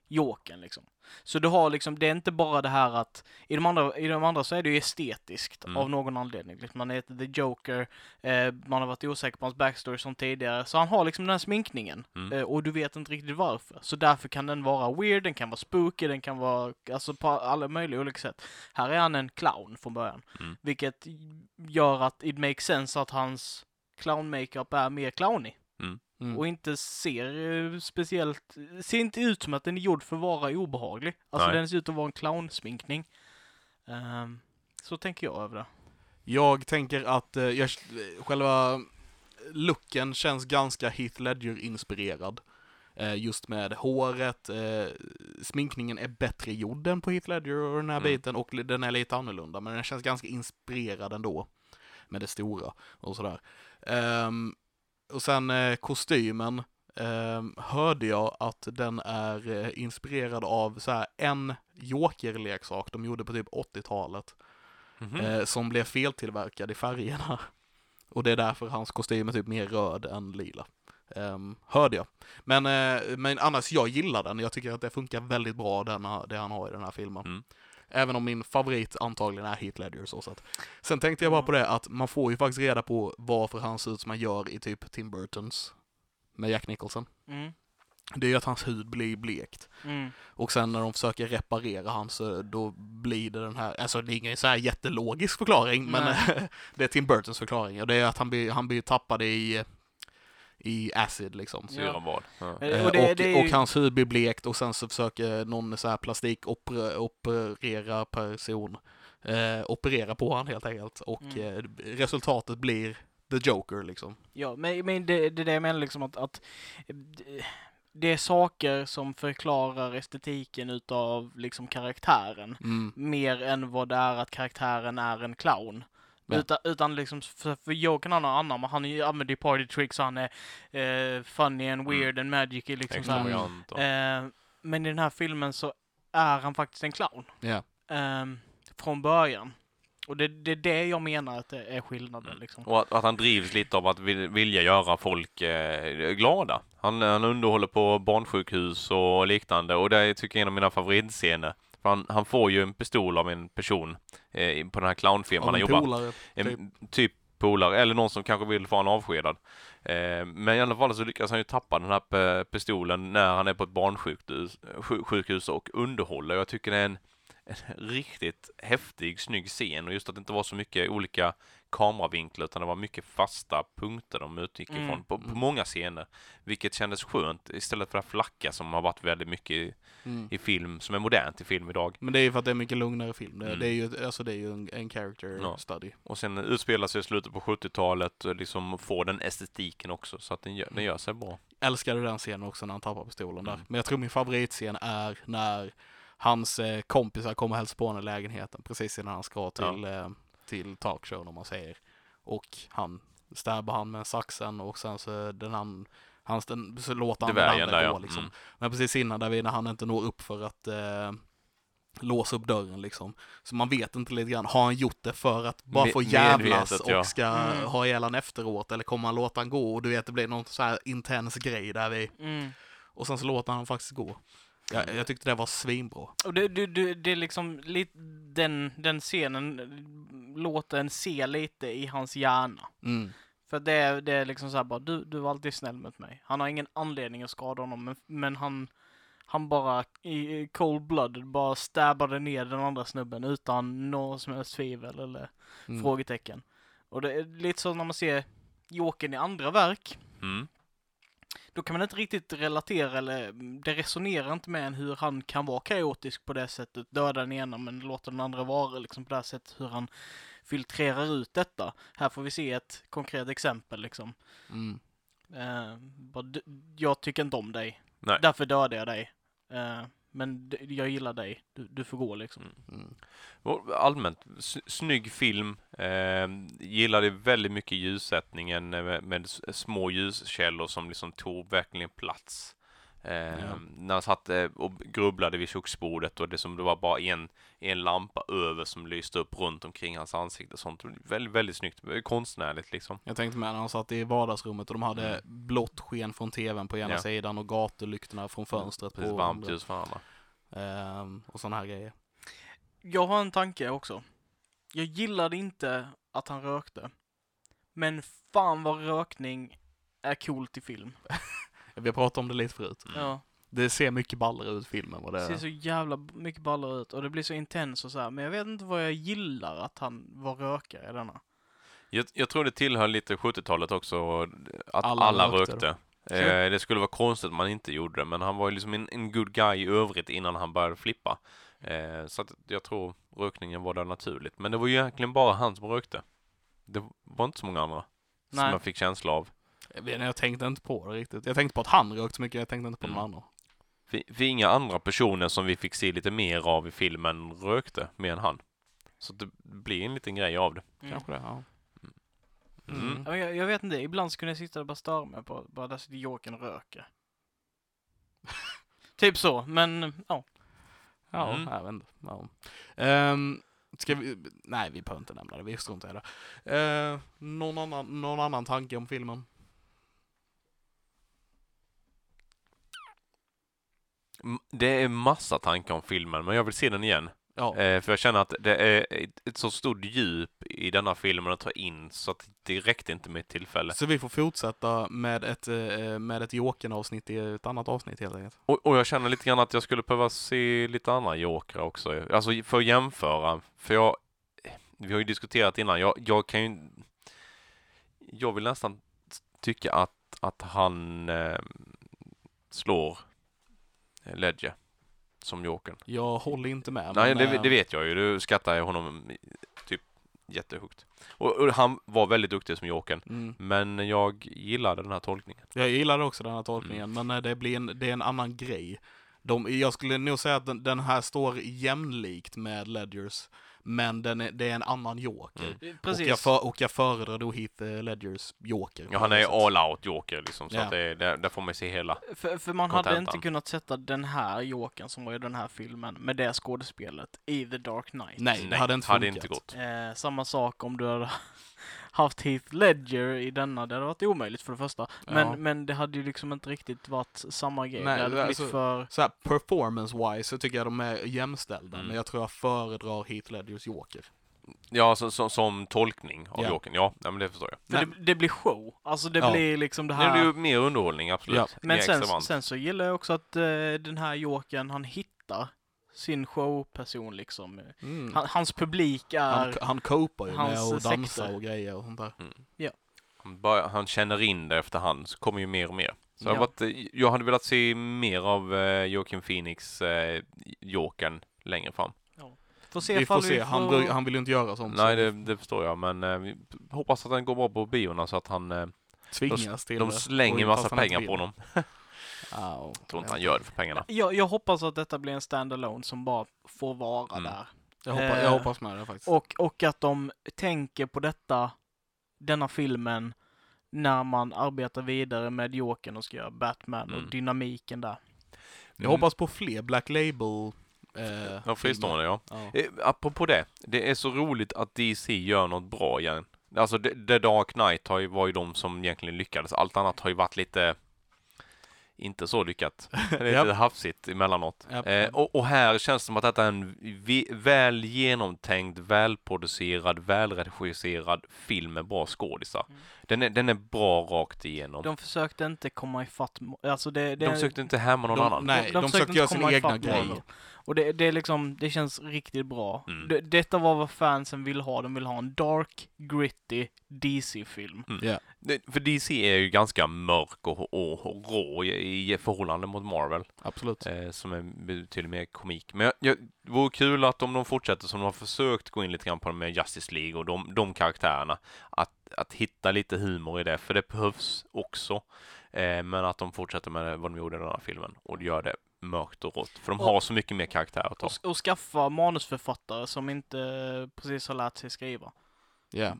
B: jokern liksom. Så du har liksom, det är inte bara det här att, i de andra, i de andra så är det ju estetiskt
C: Mm.
B: av någon anledning. Liksom, Man heter The Joker, eh, man har varit osäker på hans backstory som tidigare, så han har liksom den här sminkningen.
C: Mm.
B: Eh, och du vet inte riktigt varför. Så därför kan den vara weird, den kan vara spooky, den kan vara, alltså på alla möjliga olika sätt. Här är han en clown från början.
C: Mm.
B: Vilket gör att it makes sense att hans clown-makeup är mer clownig
A: Mm.
B: och inte ser eh, speciellt, ser inte ut som att den är gjord för att vara obehaglig. Alltså
C: Nej.
B: den ser ut att vara en clownsminkning. Ehm, så tänker jag över det.
A: Jag tänker att eh, jag, själva looken känns ganska Heath Ledger-inspirerad. Eh, just med håret, eh, sminkningen är bättre gjord än på Heath Ledger och den här
C: Mm.
A: biten och li- den är lite annorlunda men den känns ganska inspirerad ändå. Med det stora och sådär. Ehm, och sen eh, kostymen ehm, hörde jag att den är eh, inspirerad av så här en jokerleksak de gjorde på typ 80-talet
C: Mhm.
A: eh, som blev feltillverkad i färgerna. Och det är därför hans kostym är typ mer röd än lila. Ehm, hörde jag. Men, eh, men annars, jag gillar den. Jag tycker att det funkar väldigt bra, den, här- det han har i den här filmen.
C: Mm.
A: Även om min favorit antagligen är Heath Ledger. Så att. Sen tänkte jag bara på det att man får ju faktiskt reda på varför han ser ut som han gör i typ Tim Burtons med Jack Nicholson.
B: Mm.
A: Det är ju att hans hud blir blekt.
B: Mm.
A: Och sen när de försöker reparera han så då blir det den här, alltså det är ingen så här jättelogisk förklaring men det är Tim Burtons förklaring och det är att han blir, han blir tappad i, i acid liksom.
B: Ja.
C: Syran vad? Ja.
B: Eh,
A: Och,
B: det-
A: och,
B: det är ju-
A: och hans hud blir blekt och sen så försöker någon så här plastikoperera operera person, eh, operera på han helt enkelt och
B: Mm.
A: eh, resultatet blir The Joker liksom.
B: Ja, men, men det, det är det jag menar liksom att, att eh, det- det är saker som förklarar estetiken utav liksom karaktären.
A: Mm.
B: Mer än vad det är att karaktären är en clown.
A: Ja.
B: Utan, utan liksom, för, för Jokern han har annan, men han är ju- använder ju party tricks, han är eh, funny and weird and magic i liksom så här.
C: Extravagant. och-
B: Eh, men i den här filmen så är han faktiskt en clown.
A: Ja.
B: Ehm, från början. Och det, det är det jag menar att det är skillnaden
C: Mm.
B: liksom.
C: Och att, att han drivs lite av att vil, vilja göra folk eh, glada. Han, han underhåller på barnsjukhus och liknande och det är, tycker jag är en av mina favoritscener. För han, han får ju en pistol av en person eh, i- på den här clownfirman
A: Av en
C: han jobbar.
A: polare.
C: En, typ polare eller någon som kanske vill få han avskedad. Eh, men i alla fall så lyckas han ju tappa den här pe- pistolen när han är på ett barnsjukhus sju- sjukhus och underhåller. Jag tycker det är en, en riktigt häftig, snygg scen och just att det inte var så mycket olika kameravinklar utan det var mycket fasta punkter de utgick
B: Mm.
C: ifrån på, på
A: Mm.
C: många scener. Vilket kändes skönt istället för det här flacka som har varit väldigt mycket i,
A: Mm.
C: i film, som är modernt i film idag.
A: Men det är ju för att det är mycket lugnare film. Det,
C: Mm.
A: det är ju, alltså det är ju en, en character
C: Ja.
A: study.
C: Och sen utspelar sig i slutet på 70-talet och liksom får den estetiken också så att den gör, den gör sig bra.
A: älskade den scenen också när han tappar pistolen där.
C: Mm.
A: Men jag tror min favoritscen är när hans eh, kompisar kommer och hälsar på honom i lägenheten precis innan han ska till, eh, till talkshowen om man säger. Och han stabbar han med saxen och sen så den han, han den, så låter han den
C: Dvärgen
A: andra
C: där
A: gå
C: ja.
A: liksom.
C: Mm.
A: Men precis innan där vid när han inte når upp för att eh, låsa upp dörren liksom. Så man vet inte lite grann, har han gjort det för att bara
C: Me-
A: få jävlas
C: medvetet,
A: och
C: ja.
A: ska
B: Mm.
A: ha ihjäl han efteråt eller kommer han låta han gå och du vet det blir någon så här intens grej där vi
B: Mm.
A: och sen så låter han faktiskt gå. Jag, jag tyckte det var svinbra.
B: Och det, det, det, det är liksom lite den, den scenen låter en se lite i hans hjärna.
A: Mm.
B: För det, är- det är liksom så här bara, du, du var alltid snäll mot mig. Han har ingen anledning att skada honom, men, men han, han bara i i cold blood bara stabbade ner den andra snubben utan något som helst tvivel eller
A: Mm.
B: frågetecken. Och det är lite så när man ser Jokern i andra verk,
C: Mm.
B: då kan man inte riktigt relatera eller mm, det resonerar inte med en hur han kan vara kaotisk på det sättet, döda den ena men låta den andra vara liksom på det här sättet hur han filtrerar ut detta. Här får vi se ett konkret exempel liksom.
A: Mm.
B: Eh, bara, "Du- jag tycker inte om dig,
C: Nej.
B: därför dödar jag dig. Eh, men d- jag gillar dig, du, du får gå liksom.
A: Mm.
C: Och Allmänt, s- snygg film. Eh, gillade väldigt mycket ljussättningen eh, med, med s- små ljuskällor som liksom tog verkligen plats. Eh,
A: Ja.
C: När han satt eh, och grubblade vid köksbordet och det som det var bara en, en lampa över som lyste upp runt omkring hans ansikte och sånt. Väldigt, väldigt snyggt. eh, Konstnärligt liksom.
A: Jag tänkte med när han satt i vardagsrummet och de hade
C: Mm.
A: blått sken från tvn på ena
C: Ja.
A: sidan och gatulyktorna från fönstret
C: Precis,
A: på
C: varmt
A: andra.
C: ljus för andra.
A: Ehm, och sådana här grejer.
B: Jag har en tanke också. Jag gillade inte att han rökte. Men fan vad rökning är coolt i film.
A: Vi har pratat om det lite förut.
C: Mm.
B: Ja,
A: Det ser mycket ballare ut filmen vad
B: det ser
A: det
B: så jävla b- mycket ballare ut och det blir så intens och så här. Men jag vet inte vad jag gillar att han var rökare i denna.
C: Jag, jag tror det tillhör lite 70-talet också, att
A: Alla
C: alla,
A: rökte.
C: rökte.
B: Sure.
C: Eh, det skulle vara konstigt om man inte gjorde det, men han var ju liksom en, en good guy i övrigt innan han började flippa. Eh, så att jag tror rökningen var där naturligt. Men det var ju egentligen bara han som rökte. Det var inte så många andra som
B: Nej.
C: jag fick känsla av.
A: Jag, vet inte, jag tänkte inte på det riktigt. Jag tänkte på att han rökt så mycket, jag tänkte inte på
C: Mm.
A: någon annan.
C: Vi, vi inga andra personer som vi fick se lite mer av i filmen rökte, mer än han. Så det blir en liten grej av det.
B: Mm.
A: Kanske det, ja.
C: Mm.
A: Mm.
B: Ja, men Jag, jag vet inte, ibland skulle jag sitta och bara störa mig på bara där sitter Jokern och röker. typ så, men ja.
A: Ja,
C: Mm.
A: jag vet inte. Ja. Ehm, ska vi... Nej, vi behöver inte nämna det. Vi struntar i det. Ehm, någon, annan, någon annan tanke om filmen?
C: M- Det är massa tankar om filmen, men jag vill se den igen.
A: Ja.
C: Eh, för jag känner att det är ett, ett så stort djup i denna filmen att ta in så att det räckte inte med ett tillfälle.
A: Så vi får fortsätta med ett, eh, med ett Jokern-avsnitt i ett annat avsnitt helt enkelt.
C: Och, och jag känner lite grann att jag skulle behöva se lite andra jokrar också. Alltså för att jämföra. För jag... Vi har ju diskuterat innan. Jag, jag kan ju... Jag vill nästan tycka att, att han eh, slår Ledger som jokern.
A: Jag håller inte med.
C: Nej,
A: men,
C: det,
A: eh,
C: det vet jag ju. Du skattar jag honom typ jättehögt. Och, och han var väldigt duktig som jokern.
A: Mm.
C: Men jag gillade den här tolkningen.
A: Jag gillade också den här tolkningen,
C: Mm.
A: men eh, det, blir en, det är en annan grej. De, jag skulle nog säga att den, den här står jämlikt med Ledgers, men den är, det är en annan Joker.
C: Mm.
A: Och,
B: Precis.
A: jag för, och jag föredrar då Heath eh, Ledgers Joker.
C: Ja, han är ju all out joker liksom, så
A: Ja.
C: att det, där, där får man ju se hela.
B: För, för man hade
C: Kontentan.
B: inte kunnat sätta den här Jokern som var i den här filmen med det skådespelet i The Dark Knight.
A: Nej, det hade inte funkat.
C: hade inte gått.
B: Eh, samma sak om du hade haft Heath Ledger i denna. Det hade varit omöjligt för det första. Men,
A: Ja.
B: men det hade ju liksom inte riktigt varit samma grej.
A: Nej,
B: det hade
A: det-
B: blivit
A: alltså-
B: för...
A: Så här, performance-wise så tycker jag de är jämställda,
C: Mm.
A: men jag tror jag föredrar Heath Ledgers Joker.
C: Ja, så, så, som tolkning av
A: Ja.
C: jokern. Ja, ja, men det förstår jag.
B: för det, det blir show. Alltså det
A: Ja.
B: blir liksom det
C: Nu är
B: här...
C: det ju mer underhållning, absolut.
A: Ah. Ja.
C: Mer
B: Men sen,
C: extravagant.
B: sen så gillar jag också att eh, den här Jokern, han hittar sin showperson liksom.
A: Mm. Han,
B: Han, hans publik
A: han,
B: är...
A: copar ju med
B: hans
A: att dansa
B: sekter.
A: och grejer och sånt där.
C: Han, börjar, han känner in det efterhand, så kommer ju mer och mer. Så jag,
B: Ja.
C: varit, eh, jag hade velat se mer av eh, Joakim Phoenix, eh, jokern, längre fram.
B: Får se
A: vi får
B: ifall
A: se, Han, bru- han vill ju inte göra sånt.
C: Nej,
A: så
C: det, det förstår jag, men eh, vi hoppas att den går bra på biorna så att han... Eh,
A: tvingas till
C: de
A: det,
C: slänger
A: och-
C: en massa
A: fast han inte
C: pengar
A: vill.
C: på honom.
A: Ja,
C: Jag tror inte han gör det för pengarna.
B: Jag, jag hoppas att detta blir en standalone som bara får vara
C: Mm.
B: där.
A: Jag hoppas, jag
B: Eh,
A: hoppas med det faktiskt.
B: Och, och att de tänker på detta, denna filmen, när man arbetar vidare med Jokern och ska göra Batman och
C: Mm.
B: dynamiken där.
A: jag hoppas på fler Black Label eh,
C: Ja, fristående ja.
A: filmer. Ja.
C: Eh, apropå det, det är så roligt att DC gör något bra igen. Alltså The, The Dark Knight har ju, var ju de som egentligen lyckades. Allt annat har ju varit lite inte så lyckat. Det är
A: Japp.
C: lite hafsigt emellanåt.
A: Japp.
C: Eh, och, och här känns det som att detta är en vi, väl genomtänkt, välproducerad, välregisserad film med bra skådisar.
B: Mm.
C: Den är, den är bra rakt igenom.
B: De försökte inte komma ifatt, mo- alltså det, det
C: De, försökte inte härma någon
A: de-
C: annan.
A: nej, de försökte
B: inte
A: göra sina
B: komma
A: egna
B: ifatt
A: grejer.
B: Marvel. Och det, det är liksom, det känns riktigt bra.
C: Mm.
B: Det, detta var vad fansen vill ha. De vill ha en dark, gritty DC-film.
C: Det- För DC är ju ganska mörk och, och, och rå i, i förhållande mot Marvel,
A: Absolut.
C: eh, som är betydligt mer komik. Men jag, jag, det vore kul att om de fortsätter som de har försökt gå in lite grann på det med Justice League och de, de karaktärerna, att, att hitta lite humor i det, för det behövs också. Eh, men att de fortsätter med vad de gjorde i den här filmen och gör det mörkt och rått, för de
B: Och-
C: har så mycket mer karaktär att ta.
B: Och, s- och skaffa manusförfattare som inte eh, precis har lärt sig skriva.
A: Ja.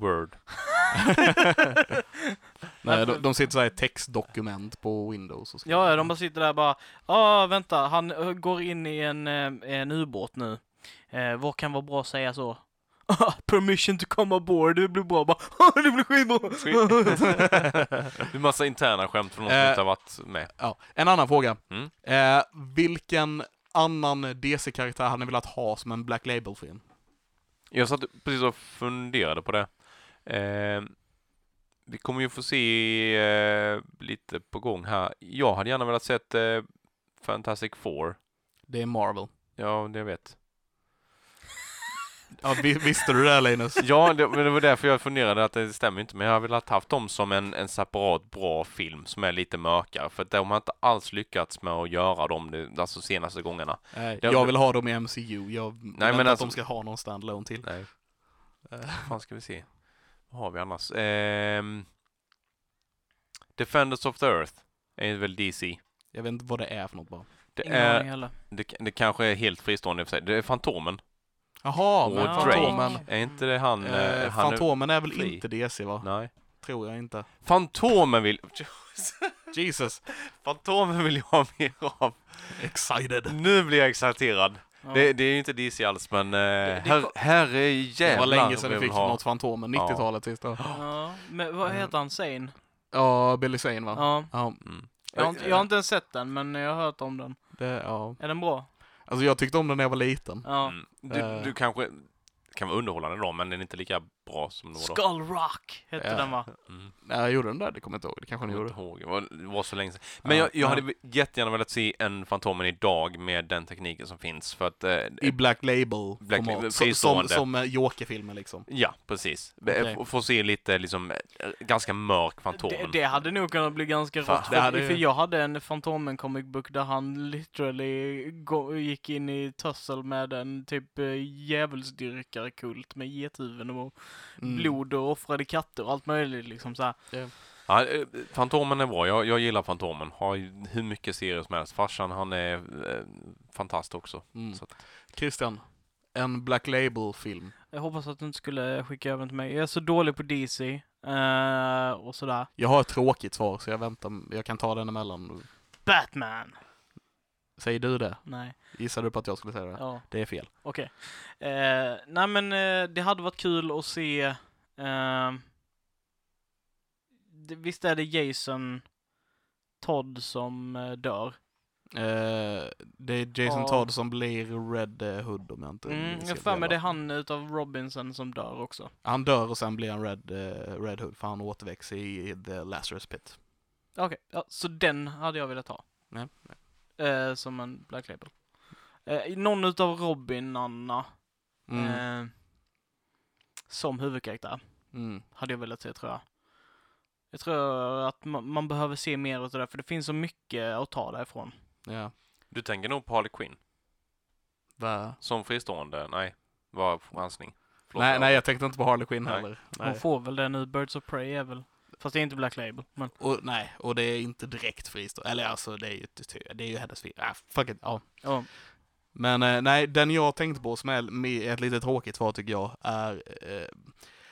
C: Word.
A: Nej,
B: Varför-
A: de, de sitter så här i textdokument på Windows och skriver.
B: Ja, ja, de bara sitter där och bara, ah, vänta, han eh, går in i en, eh, en ubåt nu. Eh, vad kan vara bra att säga så? Ah, Permission to come aboard, det blir bra bara, ah, det blir skitbra!
C: det är massa interna skämt från någon som
A: Eh,
C: inte har varit med.
A: Ja. En annan fråga.
C: Mm.
A: Eh, vilken annan DC-karaktär hade ni velat ha som en Black Label-film?
C: Jag satt precis och funderade på det. Eh, vi kommer ju få se eh, lite på gång här. Jag hade gärna velat sett eh, Fantastic Four.
A: Det är Marvel.
C: Ja, det jag vet.
A: Ja, vi, visste du det här, Linus?
C: Ja, det, men det var därför jag funderade att det stämmer inte. Men jag hade velat haft dem som en, en separat bra film som är lite mörkare. För att de har inte alls lyckats med att göra dem de alltså, senaste gångerna.
A: Nej,
C: Eh, Jag-
A: jag vill ha dem i MCU. Jag Nej,
C: men
A: men att
C: alltså-
A: de ska ha någon standalone till.
C: Nej.
A: Eh,
C: Vad fan ska vi se? Vad har vi annars? Ehm, Defenders of the Earth är väl DC.
A: Jag vet inte vad det är för något bara.
C: Det,
B: Ingen aning
C: är,
B: heller.
C: det, det kanske är helt fristående i och för sig. Det är Fantomen.
A: Jaha,
C: Och
A: men
B: Drake.
A: Fantomen.
C: Är inte det han?
A: Eh,
C: eh, han
A: Fantomen är väl
C: fri.
A: inte DC, va?
C: Nej.
A: Tror jag inte.
C: Fantomen vill...
A: Jesus.
C: Fantomen vill jag ha mer av.
A: Excited.
C: Nu blir jag exalterad.
B: Ja.
C: Det, det är ju inte DC alls, men eh, det,
B: det-
C: her, herre
A: Det var
C: jävlar
A: länge sedan vi
C: vill
A: fick
C: ha.
A: något Fantomen, 90-talet sist då.
B: Ja, men vad heter han? Zane?
A: Ja, Billy Zane va?
B: Ja.
A: Ja,
C: Mm.
B: Jag har, inte, jag har inte ens sett den, men jag har hört om den.
A: det, ja.
B: Är den bra?
A: Alltså jag tyckte om den när jag var liten.
B: Ja.
C: Mm. Du,
A: Eh.
C: du kanske kan vara underhållande då, men den är inte lika bra som den var då.
B: Skull Rock hette
A: Ja.
B: den va?
C: Mm.
A: Nej, jag gjorde den där, det kommer jag inte ihåg. Det kanske ni
C: Jag kommer
A: gjorde.
C: inte ihåg, det var, det var så länge sedan. Men
A: Ja,
C: jag, jag
A: ja.
C: hade jättegärna velat se en Fantomen idag med den tekniken som finns för att... Eh,
A: I Black Label
C: Black
A: format.
C: Label,
A: Så- som,
C: fristående.
A: som eh, Joker-filmen liksom.
C: ja, precis.
A: Okej.
C: Eh, få- Få se lite liksom eh, ganska mörk Fantomen.
B: Det, det hade nog kunnat bli ganska
C: Fan,
B: rått.
A: det
B: För,
A: hade-
B: för jag hade en Fantomen comic book där han literally gå, gick in i tussel med en typ eh, djävulsdyrkarkult med gethuvuden och
A: Mm.
B: blod och offrade katter och allt möjligt liksom så här.
C: Ja, eh, Fantomen är bra, jag, jag gillar Fantomen. Har ju hur mycket serier som helst. Farsan, han är eh, fantast också.
A: Mm.
C: Så att-
A: Christian, en Black Label-film.
B: Jag hoppas att du inte skulle skicka över den till mig. Jag är så dålig på DC eh, och sådär.
A: Jag har ett tråkigt svar så jag väntar, jag kan ta den emellan.
B: Batman!
A: Säger du det?
B: Nej,
A: Gissar du på att jag skulle säga det?
B: ja,
A: Det är fel.
B: okej. Eh, nej men eh, det hade varit kul att se... eh, det, visst är det Jason Todd som eh, dör?
A: Eh, det är Jason
B: Ja.
A: Todd som blir Red eh, Hood om jag inte
B: Mm,
A: minns
B: jag har
A: helt
B: för mig
A: fel,
B: det är
A: va?
B: han utav Robinson som dör också.
A: Han dör och sen blir han Red, eh, Red Hood för han återväcks i The Lazarus Pit.
B: Okej, ja, så den hade jag velat ha.
A: Nej,
B: Eh, som en Black Label. Eh, någon utav Robin-Anna
A: Mm.
B: eh, som huvudkaraktär
A: Mm.
B: hade jag velat se tror jag. Jag tror att ma- man behöver se mer utav det, för det finns så mycket att ta därifrån.
A: Ja.
C: Du tänker nog på Harley Quinn?
A: Va?
C: Som fristående? Nej, var chansning. Förlåt,
A: Nej,
C: jag-
A: nej, jag tänkte inte på Harley Quinn
C: Nej.
A: heller.
B: Man
A: Nej.
B: får väl det nu, Birds of Prey är väl... Fast det är inte Black Label, men...
A: Och, nej, och det är inte direkt fristående. Eller alltså, det är ju, det är ju hennes fel. Ah, fuck it. Ja.
B: ja.
A: Men eh, nej, den jag tänkte på som är med ett lite tråkigt svar tycker jag är eh,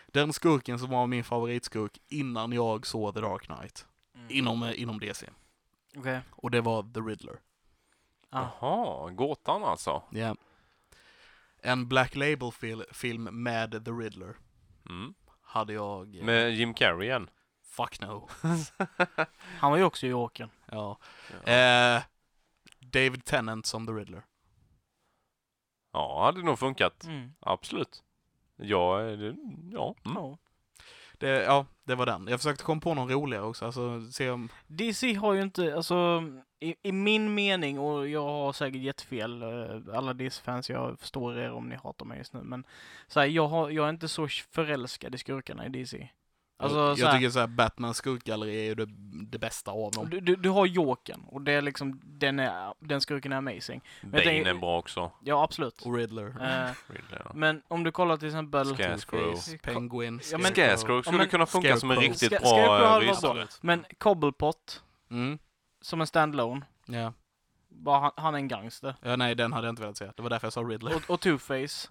A: den skurken som var min favoritskurk innan jag såg The Dark Knight
B: Mm.
A: inom, eh, inom DC.
B: Okej.
A: Och det var The Riddler.
B: Ah.
C: Jaha, gåtan alltså.
A: Ja. En Black Label-film med The Riddler
C: Mm.
A: hade jag... eh,
C: Med Jim Carrey igen.
A: Fuck no.
B: Han var ju också i Jokern.
A: Ja.
C: Ja.
A: Eh, David Tennant som The Riddler.
C: Ja, hade nog funkat.
B: Mm.
C: Absolut. Ja, eh, det, ja. Mm.
B: Ja.
A: Det, ja, det var den. Jag försökte komma på någon roligare också. Alltså, se om...
B: DC har ju inte, alltså i, i min mening, och jag har säkert jättefel, eh, alla Dis-fans, jag förstår er om ni hatar mig just nu, men så här, jag, har, jag är inte så förälskad i skurkarna i DC. Alltså,
A: jag
B: så här-
A: tycker såhär, Batmans skurkgalleri är ju det, det bästa av dem.
B: Du, du, du har Jokern, och det är liksom, den, är, den skurken är amazing.
C: Bane
B: tänker-
C: är bra också.
B: Ja, absolut.
A: Och Riddler,
B: Eh,
C: Riddler.
B: men om du kollar till exempel...
C: Scarecrow.
A: Two-Face, Penguin,
B: Ja, men-
C: Scarecrow skulle
B: men-
C: kunna funka som en
A: Scarecrow.
C: riktigt
B: Ska- Scarecrow
C: bra eh,
B: hade varit
C: rysare.
A: Absolut.
B: Men Cobblepot,
A: Mm,
B: som en standalone,
A: ja.
B: bara han, han är en gangster.
A: ja, nej den hade jag inte velat se. Det var därför jag sa Riddler.
B: Och, och Two-Face,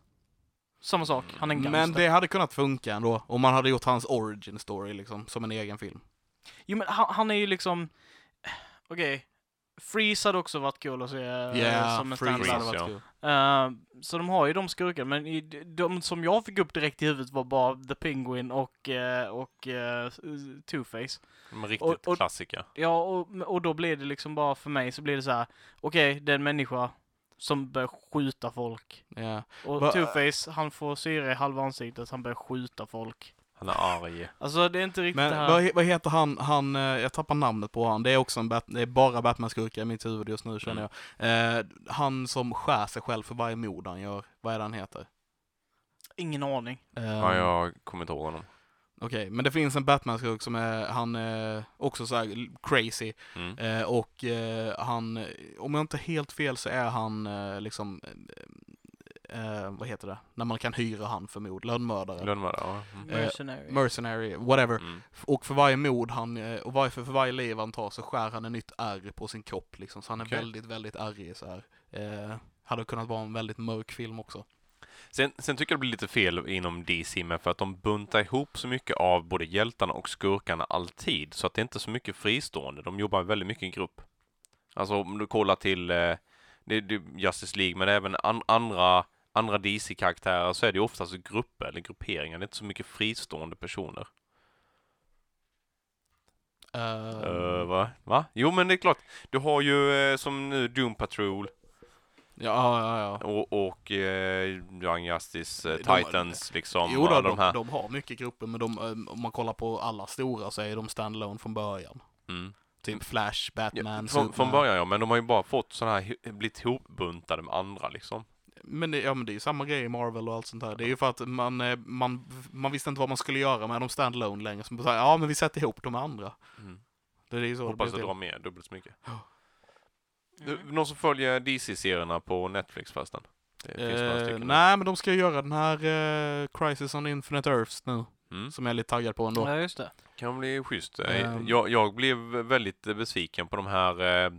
B: samma sak, han är en gangster.
A: Men det hade kunnat funka ändå, om man hade gjort hans origin story liksom, som en egen film.
B: Jo men han, han är ju liksom, okej, Freeze hade också varit kul att se
A: Ja,
B: eh,
A: yeah,
B: som en
A: Freeze hade
B: standalone.
A: varit
C: ja.
A: kul.
B: Eh, så de har ju de skurkarna, men i, de som jag fick upp direkt i huvudet var bara The Penguin och, eh, och eh, Two-Face.
C: De är riktigt
B: Och- och-
C: klassiker.
B: Ja, och, och då blir det liksom bara för mig så blir det så här. okej, det är en människa som börjar skjuta folk.
A: Ja.
B: Och
A: Va-
B: Two-Face, han får syre i halva ansiktet, han börjar skjuta folk.
C: Han är arg.
B: Alltså det är inte riktigt det
A: Men
B: här.
A: vad, he- vad heter han, han, eh, jag tappar namnet på han, det är också en Bat- det är bara Batman-skurka i mitt huvud just nu känner
C: Mm.
A: jag. Eh, han som skär sig själv för varje mord han gör, vad är det han heter?
B: Ingen aning.
A: Eh,
C: Ja, jag kommer inte ihåg honom.
A: Okej, men det finns en Batman-skurk som är, han är också så här l- crazy.
C: Mm.
A: Eh, och eh, han, eh, om jag inte helt fel så är han eh, liksom, eh, eh, vad heter det, när man kan hyra han för mord, lönnmördare.
C: Lönnmördare, ja. Mm.
B: Mercenary.
A: Mercenary, whatever.
B: Eh,
C: Mm.
A: Och för varje mord han, eh, och varje, för varje liv han tar så skär han en nytt ärr på sin kropp liksom. Så han är
C: Okej.
A: väldigt, väldigt arg så här. Eh, hade kunnat vara en väldigt mörk film också.
C: Sen, sen tycker jag det blir lite fel inom DC, men för att de buntar ihop så mycket av både hjältarna och skurkarna alltid, så att det är inte så mycket fristående. De jobbar väldigt mycket i grupp. Alltså om du kollar till eh, det, det, Justice League, men även an, andra, andra DC-karaktärer så är det ju oftast grupper eller grupperingar. Det är inte så mycket fristående personer.
A: Eh,
C: Eh, va? va? Jo, men det är klart. Du har ju eh, som nu Doom Patrol
A: ja, ja, ja.
C: och, och eh, Young Justice, eh,
A: De har-
C: Titans liksom.
A: Jo då,
C: alla
A: de,
C: de här.
A: de har mycket grupper, men de, eh, om man kollar på alla stora så är de standalone från början.
C: Mm.
A: Typ Flash,
C: Ja,
A: Batman,
C: från,
A: Superman.
C: från början ja, men de har ju bara fått sådana här, hi- blivit ihopbuntade med andra liksom.
A: Men det, ja, men det är ju samma grej i Marvel och allt sånt här. Det är ju för att man, eh, man, man visste inte vad man skulle göra med de standalone längre. Så man sa, ja men vi sätter ihop de andra. Det är ju så
C: Hoppas
A: det
C: det
A: blir
C: drar
A: till.
C: mer, dubbelt så mycket.
B: Mm.
C: Du, Någon som följer DC-serierna på Netflix förresten? Det finns några
A: Eh,
C: stycken.
A: nej, men de ska ju göra den här eh, Crisis on Infinite Earths nu,
C: Mm.
A: som jag är lite taggad på ändå.
B: Ja, just det.
C: Kan bli schysst. Eh,
A: Ehm.
C: Jag, jag blev väldigt eh, besviken på de här eh,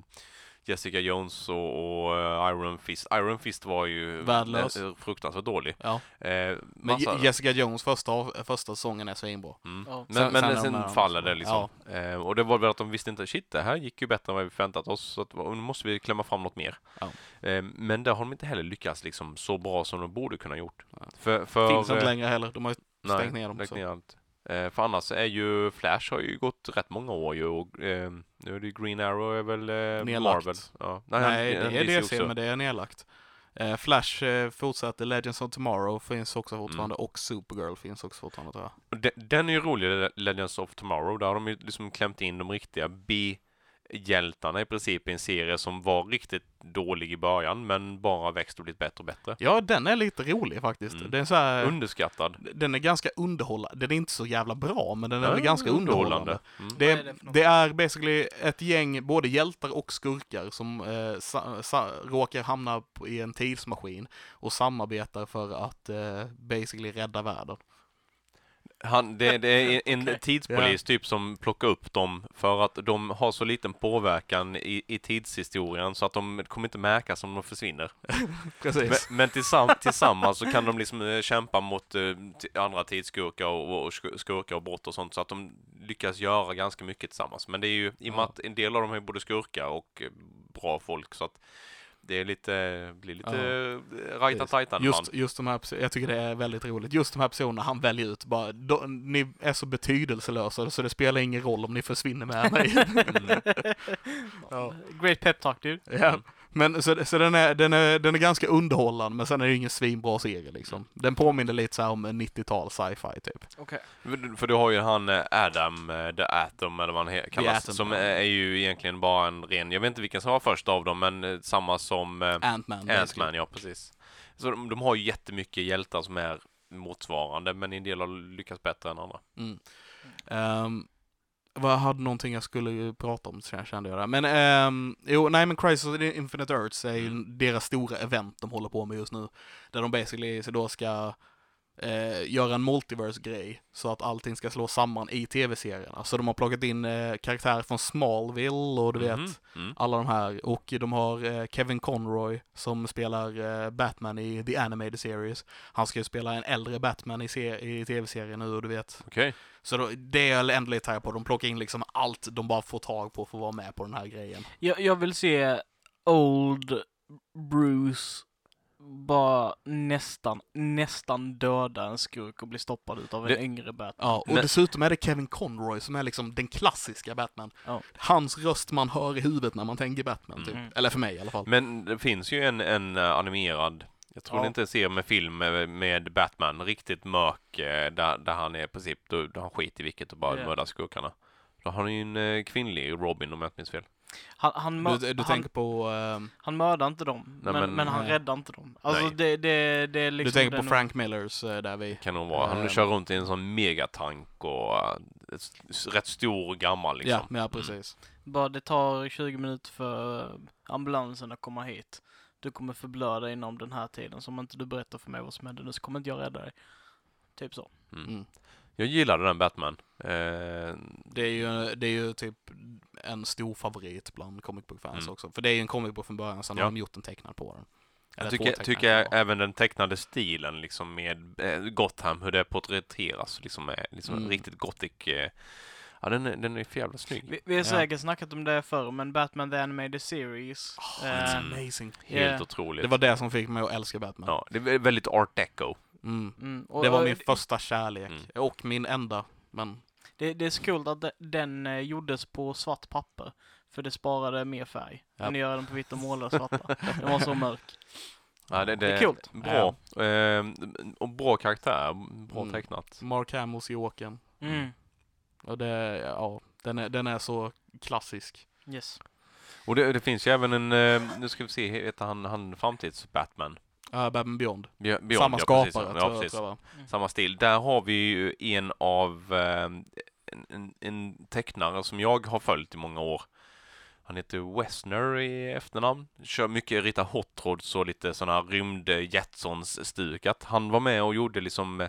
C: Jessica Jones och, och eh, Iron Fist. Iron Fist var ju
A: Värdelös.
C: eh, fruktansvärt dålig.
A: Ja.
C: Eh,
A: Men
C: massa-
A: Je- Jessica Jones första, första säsongen är svinbra.
C: Mm.
B: Ja.
C: Men,
A: Sen-
C: men
A: sen är
C: sen,
A: de där andra
C: faller
A: som-
C: det liksom. Eh, och det var väl att de visste inte, shit det här gick ju bättre än vad vi förväntat oss, så att, och nu måste vi klämma fram något mer.
A: Ja.
C: Eh, men där har de inte heller lyckats liksom så bra som de borde kunna gjort.
A: Nej.
C: För, för,
A: Finns inte
C: eh,
A: längre heller, de har ju
C: nej,
A: stängt ner dem.
C: lagt
A: så.
C: ner allt. Eh, för annars är ju Flash har ju gått rätt många år ju och eh, nu är det ju Green Arrow är väl eh,
A: Nedlagt.
C: Marvel. Ja.
A: Nej,
C: han-
A: det är
C: DC
A: DC,
C: också.
A: men det är nedlagt. Eh, Flash eh, fortsätter, Legends of Tomorrow finns också fortfarande och Supergirl finns också fortfarande tror jag.
C: Och de- Den är ju rolig, Le- Legends of Tomorrow. Där har de ju liksom klämt in de riktiga B-hjältarna i princip i en serie som var riktigt dålig i början men bara växt och blivit bättre och bättre.
A: Ja, den är lite rolig faktiskt.
C: Mm.
A: Den, är så här,
C: Underskattad.
A: den är ganska underhållande. Den är inte så jävla bra, men den är
C: Ja,
A: väl ganska underhållande.
C: Mm.
A: Det
B: Vad är
A: är,
B: det för något?
A: det är basically ett gäng, både hjältar och skurkar, som eh, sa, sa, råkar hamna på- i en tidsmaskin och samarbetar för att eh, basically rädda världen.
C: Han, det, det är en
B: Okej.
C: tidspolis typ som plockar upp dem för att de har så liten påverkan i, i tidshistorien så att de kommer inte märkas om de försvinner. Men,
A: Precis.
C: men tillsamm- tillsammans så kan de liksom eh, kämpa mot eh, t- andra tidsskurkar och, och sku- skurkar och brott och sånt så att de lyckas göra ganska mycket tillsammans. Men det är ju i och med
A: Ja.
C: att en del av dem är både skurkar och eh, bra folk så att det är lite, blir lite ja. rajta tajtan ibland.
A: Just, just de här, perso- jag tycker det är väldigt roligt, just de här personerna han väljer ut bara, "Då- ni är så betydelselösa så det spelar ingen roll om ni försvinner med mig.
C: Mm.
A: Ja.
B: Great pep talk dude.
A: ja. Men så, så den, är, den, är, den är ganska underhållande, men sen är det ju ingen svinbra serie liksom. Den påminner lite så här om en 90-tal sci-fi typ.
B: Okej.
C: För- För du har ju han eh, Adam, eh, The Atom eller vad han he- kallas,
A: Atom,
C: som
A: ja.
C: är är ju egentligen bara en ren, jag vet inte vilken som var först av dem, men eh, samma som eh,
A: Ant-Man. basically.
C: Ant-Man, ja precis. Så de, de har ju jättemycket hjältar som är motsvarande, men en del har lyckats bättre än andra.
A: Mm. Ehm, vad jag hade någonting jag skulle ju prata om, så jag kände jag det. Men ehm, jo, nej men Crisis on Infinite Earths är ju deras stora event de håller på med just nu. Där de basically så då ska eh, göra en multiverse-grej så att allting ska slås samman i tv-serierna. Så de har plockat in eh, karaktärer från Smallville och du
C: Mhm,
A: vet
C: Mm.
A: alla de här. Och de har eh, Kevin Conroy som spelar eh, Batman i The Animated Series. Han ska ju spela en äldre Batman i, se- i tv-serien nu och du vet
C: Okej.
A: så då, det är jag ändå lite taggad på. De plockar in liksom allt de bara får tag på för att vara med på den här grejen.
B: Jag, jag vill se Old Bruce bara nästan, nästan döda en skurk och bli stoppad utav en
C: Det-
B: yngre Batman.
A: Ja, och
C: Men-
A: dessutom är det Kevin Conroy som är liksom den klassiska Batman.
B: Ja.
A: Hans röst man hör i huvudet när man tänker Batman, typ.
B: Mm.
A: Eller för mig i alla fall.
C: Men det finns ju en, en eh, animerad, jag tror
A: Ja.
C: det inte ser med film med, med Batman, riktigt mörk, eh, där, där han är i princip, då, då han skiter i vilket och bara
B: Ja.
C: mördar skurkarna. Då har han ju en eh, kvinnlig Robin om jag inte minns fel.
B: Han, han, mör-
A: Du, du
B: han,
A: tänker på, eh,
B: han mördar inte dem,
C: Nej,
B: men, men,
C: men-
B: han
A: nej.
B: räddar inte dem. Alltså
C: Nej.
B: det, det, det är liksom
A: du tänker på
B: den-
A: Frank Millers eh, där vi...
C: Kan hon vara. Han
A: Ehm.
C: kör runt i en sån megatank och eh, s- s- rätt stor och gammal liksom.
A: Ja, ja, precis.
B: Bara det tar 20 minuter för eh, ambulansen att komma hit. Du kommer förblöda inom den här tiden. Så om inte du berättar för mig vad som hände nu så kommer inte jag rädda dig. Typ så.
C: Mm.
A: Mm.
C: Jag gillade den Batman. Eh,
A: Det, är ju, det är ju typ en stor favorit bland comic book-fans
C: Mm.
A: också. För det är ju en comic book från början, sen
C: Ja.
A: har de gjort en tecknad på den. Eller två
C: jag tycker,
A: tecknade
C: tycker jag
A: på.
C: även den tecknade stilen liksom med eh, Gotham, hur det porträtteras liksom är liksom
A: Mm.
C: en riktigt gothic. Eh, ja, den, är- den är för jävla snygg.
B: Vi, vi har säkert snackat om det förr, men Batman The Animated Series.
A: Oh, it's
B: eh,
C: Mm.
A: amazing.
C: Helt
B: Yeah.
C: otroligt.
A: Det var det som fick mig att älska Batman.
C: Ja, det är väldigt art deco.
A: Mm.
B: mm, och,
A: det var
B: och
A: min första kärlek
C: Mm.
A: och min enda. Men
B: det, det är så coolt att de- den eh, gjordes på svart papper. För det sparade mer färg.
A: Ja.
B: Än att göra den på vitt och måla svarta. Den var så
A: eh,
B: mörk.
C: Ja, det,
B: Det är coolt.
C: Bra. Ehm, och bra karaktär. Bra
A: Mm.
C: tecknat.
A: Mark Hamills Jokern.
B: Mm.
A: Och det, ja, den är, den är så klassisk.
B: Yes.
C: Och det, det finns ju även en, eh, nu ska vi se, heter han, han framtids-Batman?
A: Uh, Batman Beyond.
C: Be- Beyond,
A: Samma
C: ja,
A: skapare
C: precis. Ja,
A: tror, jag-
C: precis.
A: tror jag. va?
B: Mm.
C: Samma stil. Där har vi ju en av eh, en, en, en tecknare som jag har följt i många år. Han heter Westner i efternamn. Kör mycket, ritar hot rods och lite sådana här rymd Jetsons stukat. Han var med och gjorde liksom eh,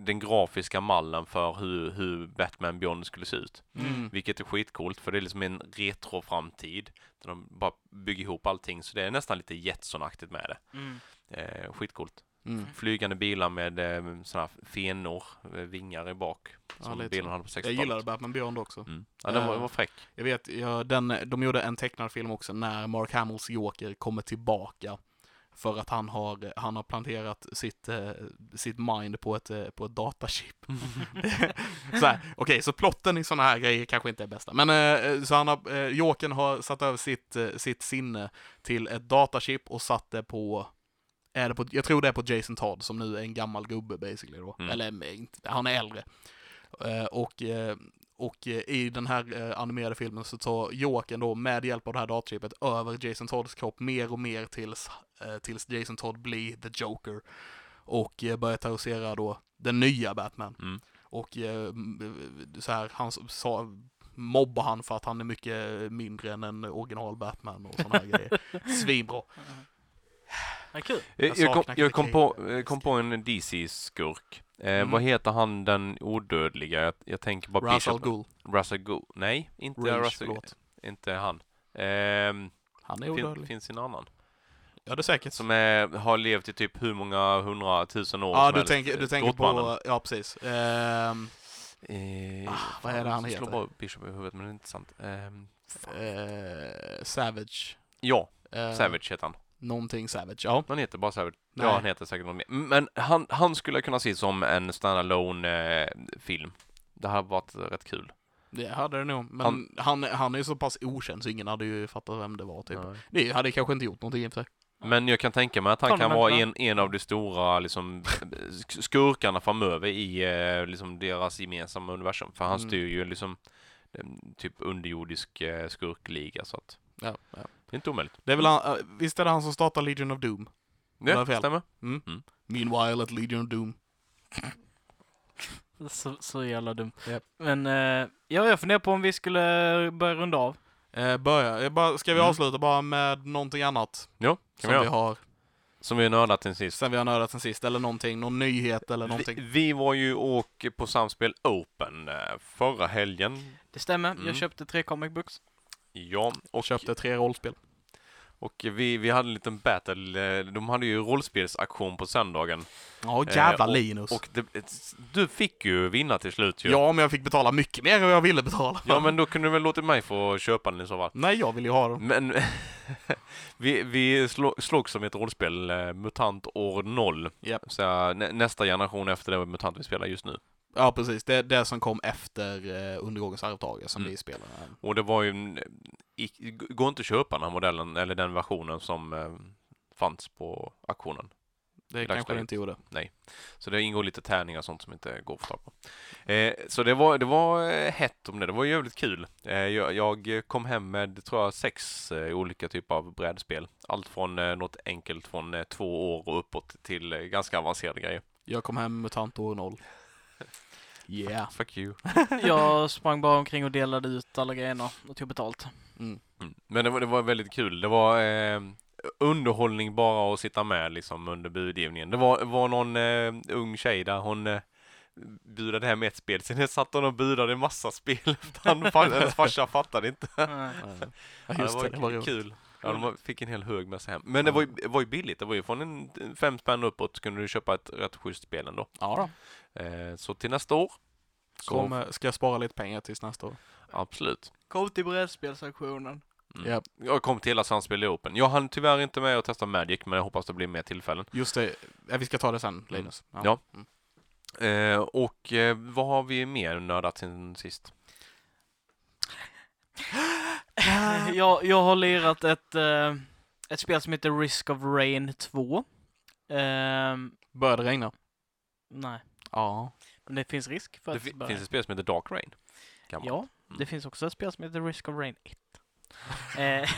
C: den grafiska mallen för hur, hur Batman Beyond skulle se ut.
A: Mm.
C: Vilket är skitcoolt för det är liksom en retro framtid. Där de bara bygger ihop allting så det är nästan lite Jetson-aktigt med det.
B: Mm.
C: Eh, skitcoolt
A: Mm.
C: flygande bilar med eh, såna här fenor, eh, vingar i bak.
A: Ja,
C: Som
A: lite
C: bilen
A: så.
C: hade på 60-talet.
A: Jag gillade Batman Beyond också.
C: Mm. Ja, den var,
A: Eh,
C: var fräck.
A: Jag vet, ja, den, de gjorde en tecknad film också när Mark Hamills Joker kommer tillbaka. För att han har, han har planterat sitt, eh, sitt mind på ett, eh, på ett datachip. så här, okej, så plotten i sådana här grejer kanske inte är bästa. Men eh, så han har, eh, Jokern har satt över sitt, eh, sitt sinne till ett datachip och satt det på, är det på, jag tror det är på Jason Todd som nu är en gammal gubbe basically då.
C: Mm.
A: Eller eh, inte, han är äldre. Eh, och, eh, och eh, i den här eh, animerade filmen så tar Jokern då med hjälp av det här datachipet över Jason Todds kropp mer och mer tills, eh, tills Jason Todd blir the Joker. Och eh, börjar terrorisera då den nya Batman.
C: Mm.
A: Och eh, m- så här, han s- sa, mobbar han för att han är mycket eh, mindre än en original Batman och sådana här grejer. Svinbra.
B: Ja, kul.
C: Eh, Jag, jag, kom,
A: saknar
C: jag kom,
A: kritik.
C: på, eh, kom på en DC-skurk. Eh,
A: Mm.
C: Vad heter han den odödliga? Jag, jag tänker bara
A: Russell Gull.
C: Russell Go. Nej, inte
A: Rage,
C: Russell
A: förlåt.
C: Inte han. Ehm,
A: Han är
C: fin,
A: odödlig.
C: finns en annan.
A: Ja, det är säkert.
C: Som är, har levt i typ hur många hundratusen år
A: Ja,
C: som
A: du
C: helst.
A: tänker, du
C: Eh,
A: tänker
C: Gottmannen.
A: på, ja precis. Ehm,
C: Eh,
A: Ah, vad är det han
C: jag slår
A: heter?
C: bara Bishop i huvudet, men det är inte sant. Ehm,
A: eh, Savage.
C: ja,
A: Eh,
C: Savage heter han.
A: Någonting Savage, ja.
C: Han heter bara Savage.
A: Nej.
C: Ja, han heter säkert något mer. Men han, han skulle kunna se som en standalone eh, film. Det hade varit rätt kul.
A: Det hade det nog. Men han,
C: Han-
A: han, är ju så pass okänd så ingen hade ju fattat vem det var typ.
C: Nej.
A: Det hade kanske inte gjort någonting i och för sig.
C: Men jag kan tänka mig att han
B: Kolla,
C: kan vara
B: vänta.
C: en, en av de stora liksom, sk- skurkarna framöver i eh, liksom, deras gemensamma universum. För han
A: Mm.
C: styr ju liksom en typ underjordisk eh, skurkliga så att
A: Ja, ja.
C: det är inte omöjligt.
A: Det är väl han, eh, visst är det han som startar Legion of Doom?
C: Det
A: Vad fel.
C: stämmer.
A: Meanwhile at Legion of Doom.
B: Så, så jävla dumt.
A: Japp.
B: Men eh, ja, jag funderar på om vi skulle börja runda av.
A: Eh, börja. Jag bara, ska vi
C: Mm.
A: avsluta bara med någonting annat?
C: Jo, kan
A: Som
C: vi
A: vi,
C: göra.
A: har,
C: Som vi nördat till sist.
A: sen vi har nördat sen sist, eller någonting, någon nyhet eller någonting.
C: Vi, vi var ju och på Samspel Open eh, förra helgen.
B: Det stämmer,
C: Mm.
B: jag köpte tre comic books.
C: Ja,
A: Och köpte tre rollspel.
C: och vi, vi hade en liten battle. eh, De hade ju rollspelsaktion på söndagen.
A: Ja,
C: Eh,
A: jävla Linus.
C: Och det, du fick ju vinna till slut ju.
A: ja, men jag fick betala mycket mer än vad jag ville betala.
C: Ja, men då kunde du väl låtit mig få köpa den i så fall.
A: Nej, jag vill ju ha dem.
C: Men vi, vi slog, slog som ett rollspel, eh, MUTANT år 0.
A: Japp.
C: Så, eh, nä, nästa generation efter det MUTANT vi spelar just nu.
A: Ja, precis. Det, det som kom efter eh, undergångens arvtagare som
C: Mm.
A: vi spelade.
C: Och det var ju, en- i- går inte att köpa den här modellen, eller den versionen som eh, fanns på auktionen.
A: Det kanske
C: dagsläget.
A: det inte gjorde.
C: Så det ingår lite tärningar och sånt som inte går att få tag på. Eh, så det var, det var eh, hett om det, det var jävligt kul. Eh, jag, jag kom hem med, tror jag, sex eh, olika typer av brädspel. Allt från eh, något enkelt från eh, två år och uppåt till eh, ganska avancerade grejer.
A: Jag kom hem med tant år noll. Yeah.
C: Fuck you.
B: Jag sprang bara omkring och delade ut alla grejerna och tog betalt.
A: Mm.
C: Mm. Men det var, det var väldigt kul. Det var eh, underhållning bara att sitta med liksom under budgivningen. Det var, var någon eh, ung tjej där hon eh, budade hem ett spel, sen satt hon och budade en massa spel. Han, hennes farsa fattade inte.
B: Eh,
A: Ja, just
C: ja,
A: det, det var roligt.
C: kul. Ja, de var- fick en hel hög med sig hem. Men det var ju, det var ju billigt. Det var ju från en en fem spänn uppåt så kunde du köpa ett rätt schysst spel ändå.
A: Ja, då.
C: Eh, så till nästa år. Så,
A: Kom, eh, ska jag spara lite pengar tills nästa år?
C: Absolut.
B: Kom till brädspelsauktionen.
C: Mm.
A: Ja.
C: Jag kom till hela Samspel i Open. Jag hann tyvärr inte med att testa Magic, men jag hoppas det blir mer tillfällen.
A: Just det, ja, vi ska ta det sen, Linus.
C: Ja. Eh, och eh, vad har vi mer nördat sen sist?
B: jag, jag har lirat ett, eh, ett spel som heter Risk of Rain 2. Ehm,
A: Börjar det regna?
B: nej,
A: Ja.
B: men det finns risk för
C: Det
B: att
C: fi-
B: börja.
C: finns ett spel som heter Dark Rain. Gammalt.
B: Ja, det
C: Mm.
B: finns också ett spel som heter Risk of Rain 1. eh,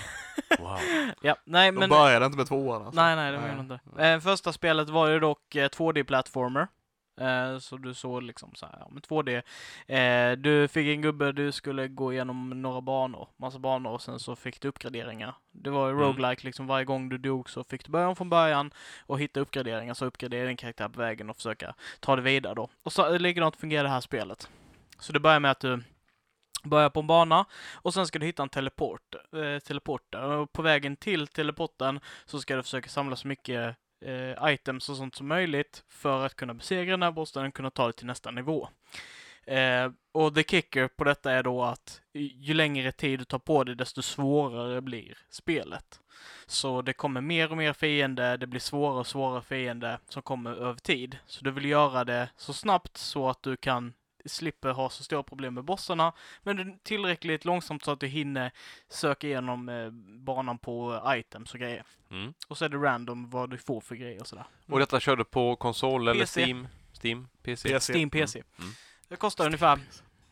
C: Wow.
B: ja, nej
A: De
B: men... eh,
A: började inte med tvåan alltså.
B: Nej, nej, det menar
A: Nej.
B: jag inte. Eh, första spelet var ju dock eh, 2D-plattformer. Eh, så du såg liksom så här, ja, men 2D. Eh, du fick en gubbe, du skulle gå igenom några banor, massa banor och sen så fick du uppgraderingar. Det var ju
C: Mm.
B: roguelike liksom, varje gång du dog så fick du börja om från början och hitta uppgraderingar, så uppgradera din karaktär på vägen och försöka ta det vidare då. Och så eh, likadant fungerar det här spelet. Så det börjar med att du börjar på en bana och sen ska du hitta en teleport, eh, teleporter. Och på vägen till teleporten så ska du försöka samla så mycket eh, items och sånt som möjligt för att kunna besegra den här bossen och kunna ta det till nästa nivå. Eh, och the kicker på detta är då att ju längre tid du tar på dig desto svårare blir spelet. Så det kommer mer och mer fiende, det blir svårare och svårare fiende som kommer över tid. Så du vill göra det så snabbt så att du kan slippa ha så stora problem med bossarna, men det är tillräckligt långsamt så att du hinner söka igenom eh, banan på items och grejer.
C: Mm.
B: Och så är det random vad du får för grejer och sådär.
C: Och detta körde på konsol eller
B: PC.
C: Steam? Steam? PC?
A: PC.
B: Steam PC.
C: Mm.
B: Det kostar ungefär...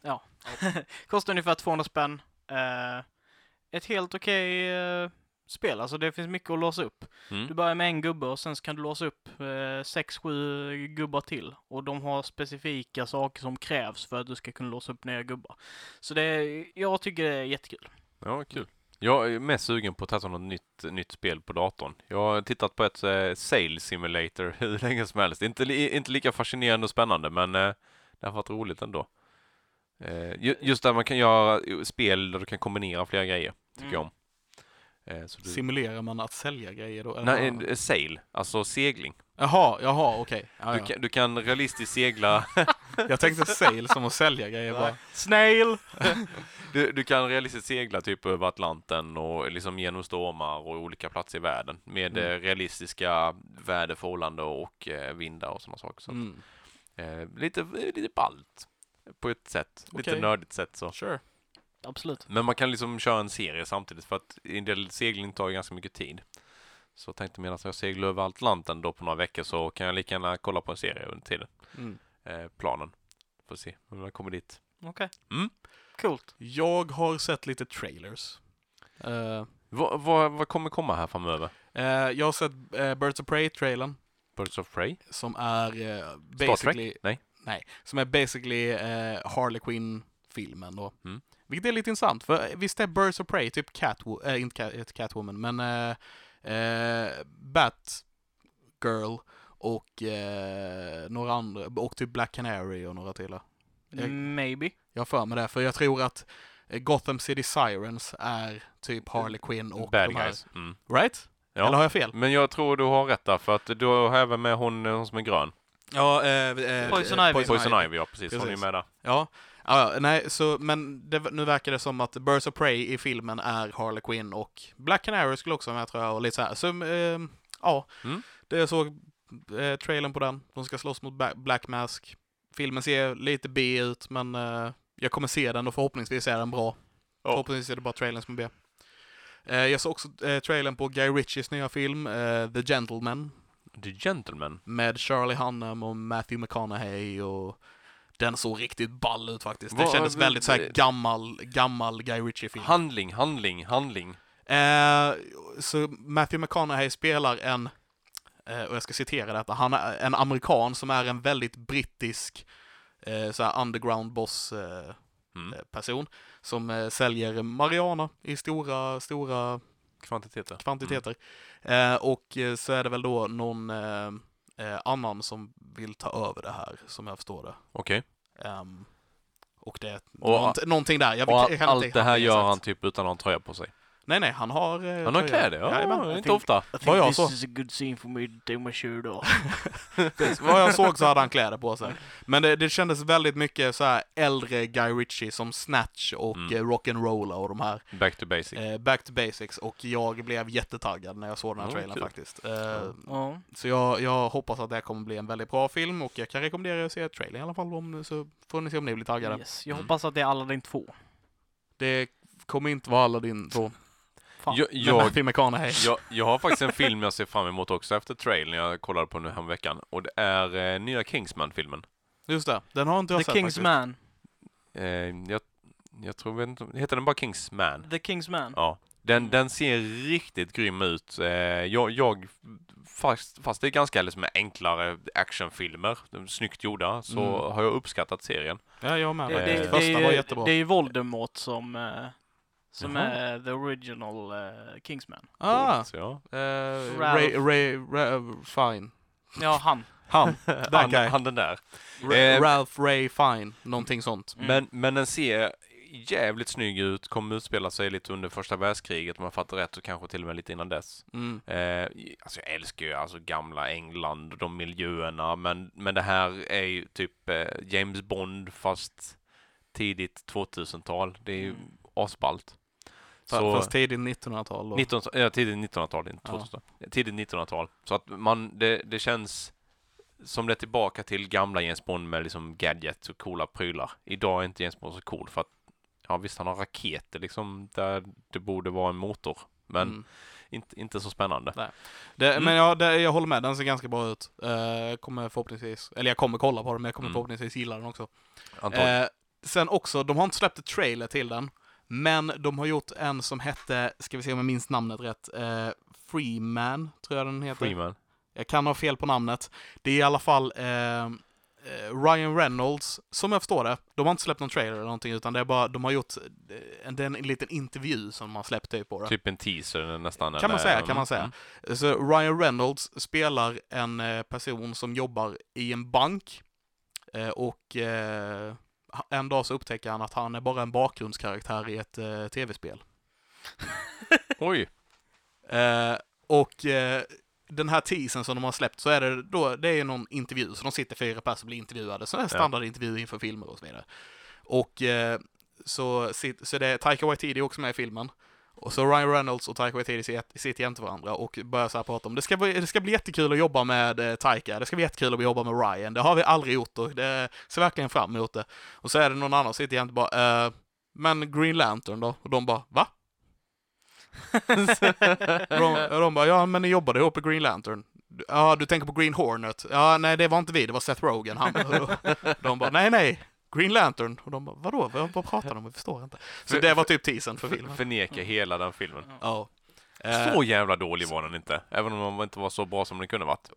B: Ja. kostar ungefär 200 spänn. Eh, ett helt okej eh, spel, alltså det finns mycket att låsa upp.
C: Mm.
B: Du börjar med en gubbe och sen så kan du låsa upp eh, 6-7 gubbar till. Och de har specifika saker som krävs för att du ska kunna låsa upp nya gubbar. Så det är, jag tycker det är jättekul.
C: Ja, kul. Jag är mest sugen på att testa något nytt, nytt spel på datorn. Jag har tittat på ett eh, Sales Simulator hur länge som helst. Inte, li, inte lika fascinerande och spännande, men eh, det har varit roligt ändå. Eh, ju, just där man kan göra eh, spel där du kan kombinera flera grejer, tycker
B: Mm.
C: jag om. Eh, så du,
A: Simulerar man att sälja grejer då? eller?
C: nej, en- eh, sail, alltså segling.
A: Jaha, jaha, okej. Ja,
C: Du
A: Ah, ja.
C: kan, du kan realistiskt segla,
A: Jag tänkte sale som att sälja grejer
C: Nej.
A: bara.
B: Mm. Snail!
C: du, du kan realistiskt segla typ över Atlanten och liksom genom stormar och olika platser i världen med
A: Mm.
C: eh, realistiska väderförhållanden och eh, vindar och sådana saker. Så att-
A: Mm.
C: Eh, lite, eh, lite ballt. På ett sätt. Lite
A: Okej.
C: nördigt sätt så.
A: Sure.
B: Absolut.
C: Men man kan liksom köra en serie samtidigt för att en del segling tar ju ganska mycket tid. Så jag tänkte medan jag seglar över Atlanten då på några veckor så kan jag lika gärna kolla på en serie under tiden.
A: Mm.
C: Eh, planen. Får se om jag kommer dit.
B: Okej.
C: Mm.
B: Coolt.
A: Jag har sett lite trailers. Eh,
C: Vad va, vad kommer komma här framöver?
A: eh, jag har sett eh, Birds of Prey-trailern
C: Birds of Prey?
A: som är eh,
C: Star Trek?
A: basically,
C: Nej.
A: som är basically eh, Harley Quinn-filmen då.
C: Mm.
A: Vilket är lite intressant, för eh, visst är Birds of Prey typ Catwo- eh, inte Cat, inte Catwoman, men eh, eh, Batgirl och eh, några andra, och typ Black Canary och några till. Jag-
B: Maybe.
A: Jag har för mig det, för jag tror att eh, Gotham City Sirens är typ Harley Quinn och
C: Bad
A: de här.
C: guys. Mm.
A: Right?
C: Ja.
A: Eller har jag fel?
C: Men jag tror du har rätt där för att du har även med hon, hon som är grön.
A: Ja, eh, eh,
B: Poison
A: eh,
B: Ivy.
C: Poison Ivy, ja precis. Hon är
A: Precis.
C: med där.
A: Ja. Ja, ja, nej, så, men det, nu verkar det som att Birds of Prey i filmen är Harley Quinn och Black Canary skulle också vara med tror jag och lite så här. Så, ehm, ja.
C: Mm.
A: Det jag såg eh, trailern på den. De ska slåss mot Ba- Black Mask. Filmen ser lite B ut, men eh, jag kommer se den och förhoppningsvis är den bra.
C: Ja.
A: Förhoppningsvis är det bara trailern som är B. Eh, jag såg också eh, trailern på Guy Ritchies nya film, eh, The Gentleman,
C: The Gentleman.
A: med Charlie Hunnam och Matthew McConaughey och den såg riktigt ball ut faktiskt. Det
C: Vad-
A: kändes väldigt så här
C: eh,
A: gammal, gammal Guy Ritchie-film.
C: Handling, handling, handling.
A: Eh, så Matthew McConaughey spelar en, eh, och jag ska citera detta, han är en amerikan som är en väldigt brittisk eh, så här underground boss eh,
C: Mm.
A: eh, person som eh, säljer marijuana i stora, stora
C: Kvantiteter.
A: kvantiteter. Eh, och eh, så är det väl då någon eh, eh, annan som vill ta över det här, som jag förstår det.
C: Okej.
A: Ehm, och det är
C: Och-
A: nånt- någonting där. Jag,
C: Och
A: jag
C: all-
A: kan
C: allt
A: inte
C: det här
A: exakt.
C: gör han typ utan att ha en tröja på sig.
A: Nej, nej, han har... eh,
C: Han har
A: tröja.
C: kläder, ja,
A: Jajamän.
C: inte
B: think-
C: ofta.
B: I
A: Vad
B: think
A: jag
B: this
A: sa.
B: is a good scene for me to take my shirt off.
A: Precis. Vad jag såg så hade han kläder på sig. Men det, det kändes väldigt mycket så här äldre Guy Ritchie som Snatch och
C: Mm. Typ.
A: mm. Rock'n'Rolla och de här.
C: Back to basic.
A: Eh, back to Basics. Och jag blev jättetaggad när jag såg den här
C: Ja,
A: trailern
C: kul.
A: faktiskt. Eh,
C: Ja.
B: Ja.
A: Så jag, jag hoppas att det här kommer bli en väldigt bra film och jag kan rekommendera er att se trailern i alla fall om, så får ni se om ni blir taggade.
B: Yes. Jag
C: Mm.
B: hoppas att det är Aladdin 2.
A: Det kommer inte vara Aladdin då.
B: Fan.
C: jag,
A: Jag...
C: jag,
A: Matthew McConaughey.
C: jag, jag har faktiskt en film jag ser fram emot också efter trailern jag kollade på nu veckan. Och det är eh, nya Kingsman-filmen.
A: Just det, den har inte jag
B: The
A: sett
B: King's
A: faktiskt.
B: Man.
C: Eh, jag, jag tror, vet inte, om- heter den bara Kingsman?
B: The King's Man.
C: Ja. Den, den ser riktigt grym ut. Eh, jag, jag, fast, fast det är ganska liksom enklare actionfilmer, de är snyggt gjorda, så
A: Mm.
C: har jag uppskattat serien.
A: Ja, jag med.
B: Det, det,
A: faktiskt.
B: det,
C: Eh,
A: Första
B: är,
A: var
B: ju-
A: jättebra.
B: det är ju Voldemort som, eh, som
C: Jaha.
B: är the original eh, Kingsman.
A: ah!
C: Så,
A: eh,
C: ja.
B: Ralph.
A: Ray, Ray, Ra- eh, Fine.
B: Ja, han.
A: Han.
C: han,
A: guy.
C: han den där.
A: Ra-
C: Eh,
A: Ralph Ray Fine. Någonting sånt.
B: Mm.
C: Men, men den ser jävligt snygg ut, kommer utspela sig lite under första världskriget om jag fattar rätt och kanske till och med lite innan dess.
A: Mm.
C: Eh, alltså jag älskar ju alltså gamla England och de miljöerna men, men det här är ju typ eh, James Bond fast tidigt 2000-tal. Det är ju
B: Mm.
C: asballt.
A: Fa-
C: Så-
A: Fast tidigt 1900-tal. och-
C: 19, ja, tidigt 1900-tal, inte
A: Ja.
C: 2000-tal. Tidigt 1900-tal. Så att man, det, det känns som det är tillbaka till gamla James Bond med liksom gadgets och coola prylar. Idag är inte James Bond så cool för att, ja visst han har raketer liksom där det borde vara en motor. Men
A: Mm.
C: inte, inte så spännande.
A: Det,
C: Mm.
A: Men ja, det, jag håller med, den ser ganska bra ut. Eh, Jag kommer förhoppningsvis, eller jag kommer kolla på den, men jag kommer
C: Mm.
A: förhoppningsvis gilla den också.
C: Antagligen.
A: Eh, sen också, de har inte släppt ett trailer till den, men de har gjort en som hette, ska vi se om jag minns namnet rätt, eh, Freeman, tror jag den heter.
C: Freeman.
A: Jag kan ha fel på namnet. Det är i alla fall eh, eh, Ryan Reynolds, som jag förstår det. De har inte släppt någon trailer eller någonting, utan det är bara, de har gjort eh, en, det är en liten intervju som de har släppt typ på det.
C: Typ en teaser
A: Kan
C: nästan.
A: man
C: eller-
A: säga, kan man säga.
C: Mm.
A: Så Ryan Reynolds spelar en eh, person som jobbar i en bank eh, och eh, ha- en dag så upptäcker han att han är bara en bakgrundskaraktär i ett eh, tv-spel.
C: Oj!
A: Eh, och eh, den här teasern som de har släppt så är det då, det är någon intervju, så de sitter fyra personer och blir intervjuade, så är det standardintervju inför filmer och så vidare. Och eh, så, sit- så det är Taika Waititi också med i filmen. Och så Ryan Reynolds och Taika Waititi sit- sitter jämte varandra och börjar så här prata om det ska, bli, det ska bli jättekul att jobba med eh, Taika, det ska bli jättekul att jobba med Ryan, det har vi aldrig gjort och det ser verkligen fram emot det. Och så är det någon annan som sitter jämte och bara eh, men Green Lantern då? Och de bara va? Och de, och de bara ja men ni jobbade ihop i Green Lantern. Ja du tänker på Green Hornet? Ja nej det var inte vi, det var Seth Rogen. Han, de bara nej nej, Green Lantern. Och de bara vadå, vad, vad pratar de om? Vi förstår inte. Så det var typ teasern för filmen. Eh.
C: Förneka hela den filmen.
A: Ja.
C: Så jävla dålig var den inte, även om den inte var så bra som den kunde varit.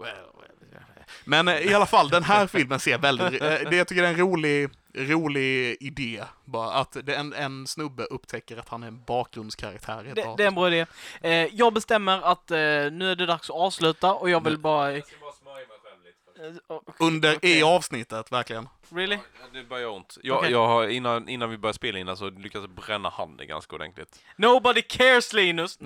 A: Men eh, i alla fall, den här filmen ser väldigt... eh, det- Jag tycker det är en rolig, rolig idé. Bara att det, en, en snubbe upptäcker att han är en bakgrundskaraktär i ett
B: Det,
A: avsnitt.
B: det är en bra idé. Eh, jag bestämmer att eh, nu är det dags att avsluta och jag vill bara... Eh,
C: ska bara smörja mig själv lite.
B: oh,
A: Under,
B: Okej.
A: i avsnittet, verkligen.
B: really?
C: Det börjar ont. Jag,
B: Okej.
C: jag har, innan, innan vi började spela in så lyckades jag bränna handen ganska ordentligt.
B: Nobody cares Linus!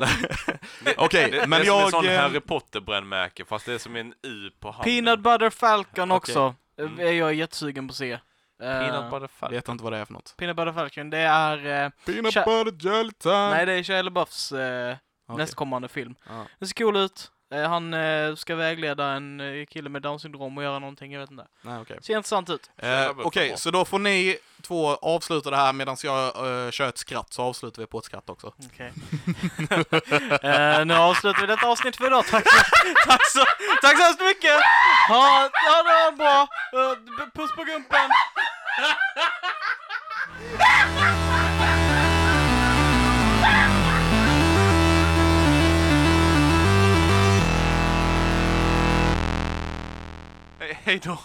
A: Okej,
C: Det,
A: men
C: det är
A: jag...
C: som en sån
A: eh,
C: Harry Potter-brännmärke, fast det är som en U på handen.
B: Peanut Butter Falcon
A: Okej.
B: också.
C: Mm.
B: Eh, är Jag är jättesugen på att se. Eh,
C: Peanut butter falcon.
A: vet inte vad det är för något.
B: Peanut Butter Falcon, det är... Eh,
A: Peanut
B: Tja-
A: butter jelly time! Ah,
B: nej, det är Shia LaBeoufs eh,
A: Okej.
B: nästkommande film.
A: Ja.
B: Den ser cool ut. Eh, han eh, ska vägleda en eh, kille med Downs syndrom och göra någonting, jag vet inte.
A: Nej, okej.
B: Ser intressant ut.
A: Eh, Okej, så då får ni två avsluta det här medan jag eh, kör ett skratt, så avslutar vi på ett skratt också.
B: Okej. Eh, nu avslutar vi detta avsnitt för idag. Tack så, tack så, tack så hemskt mycket! Ha, ha det bra! Eh, puss på gumpen!
C: Hej då!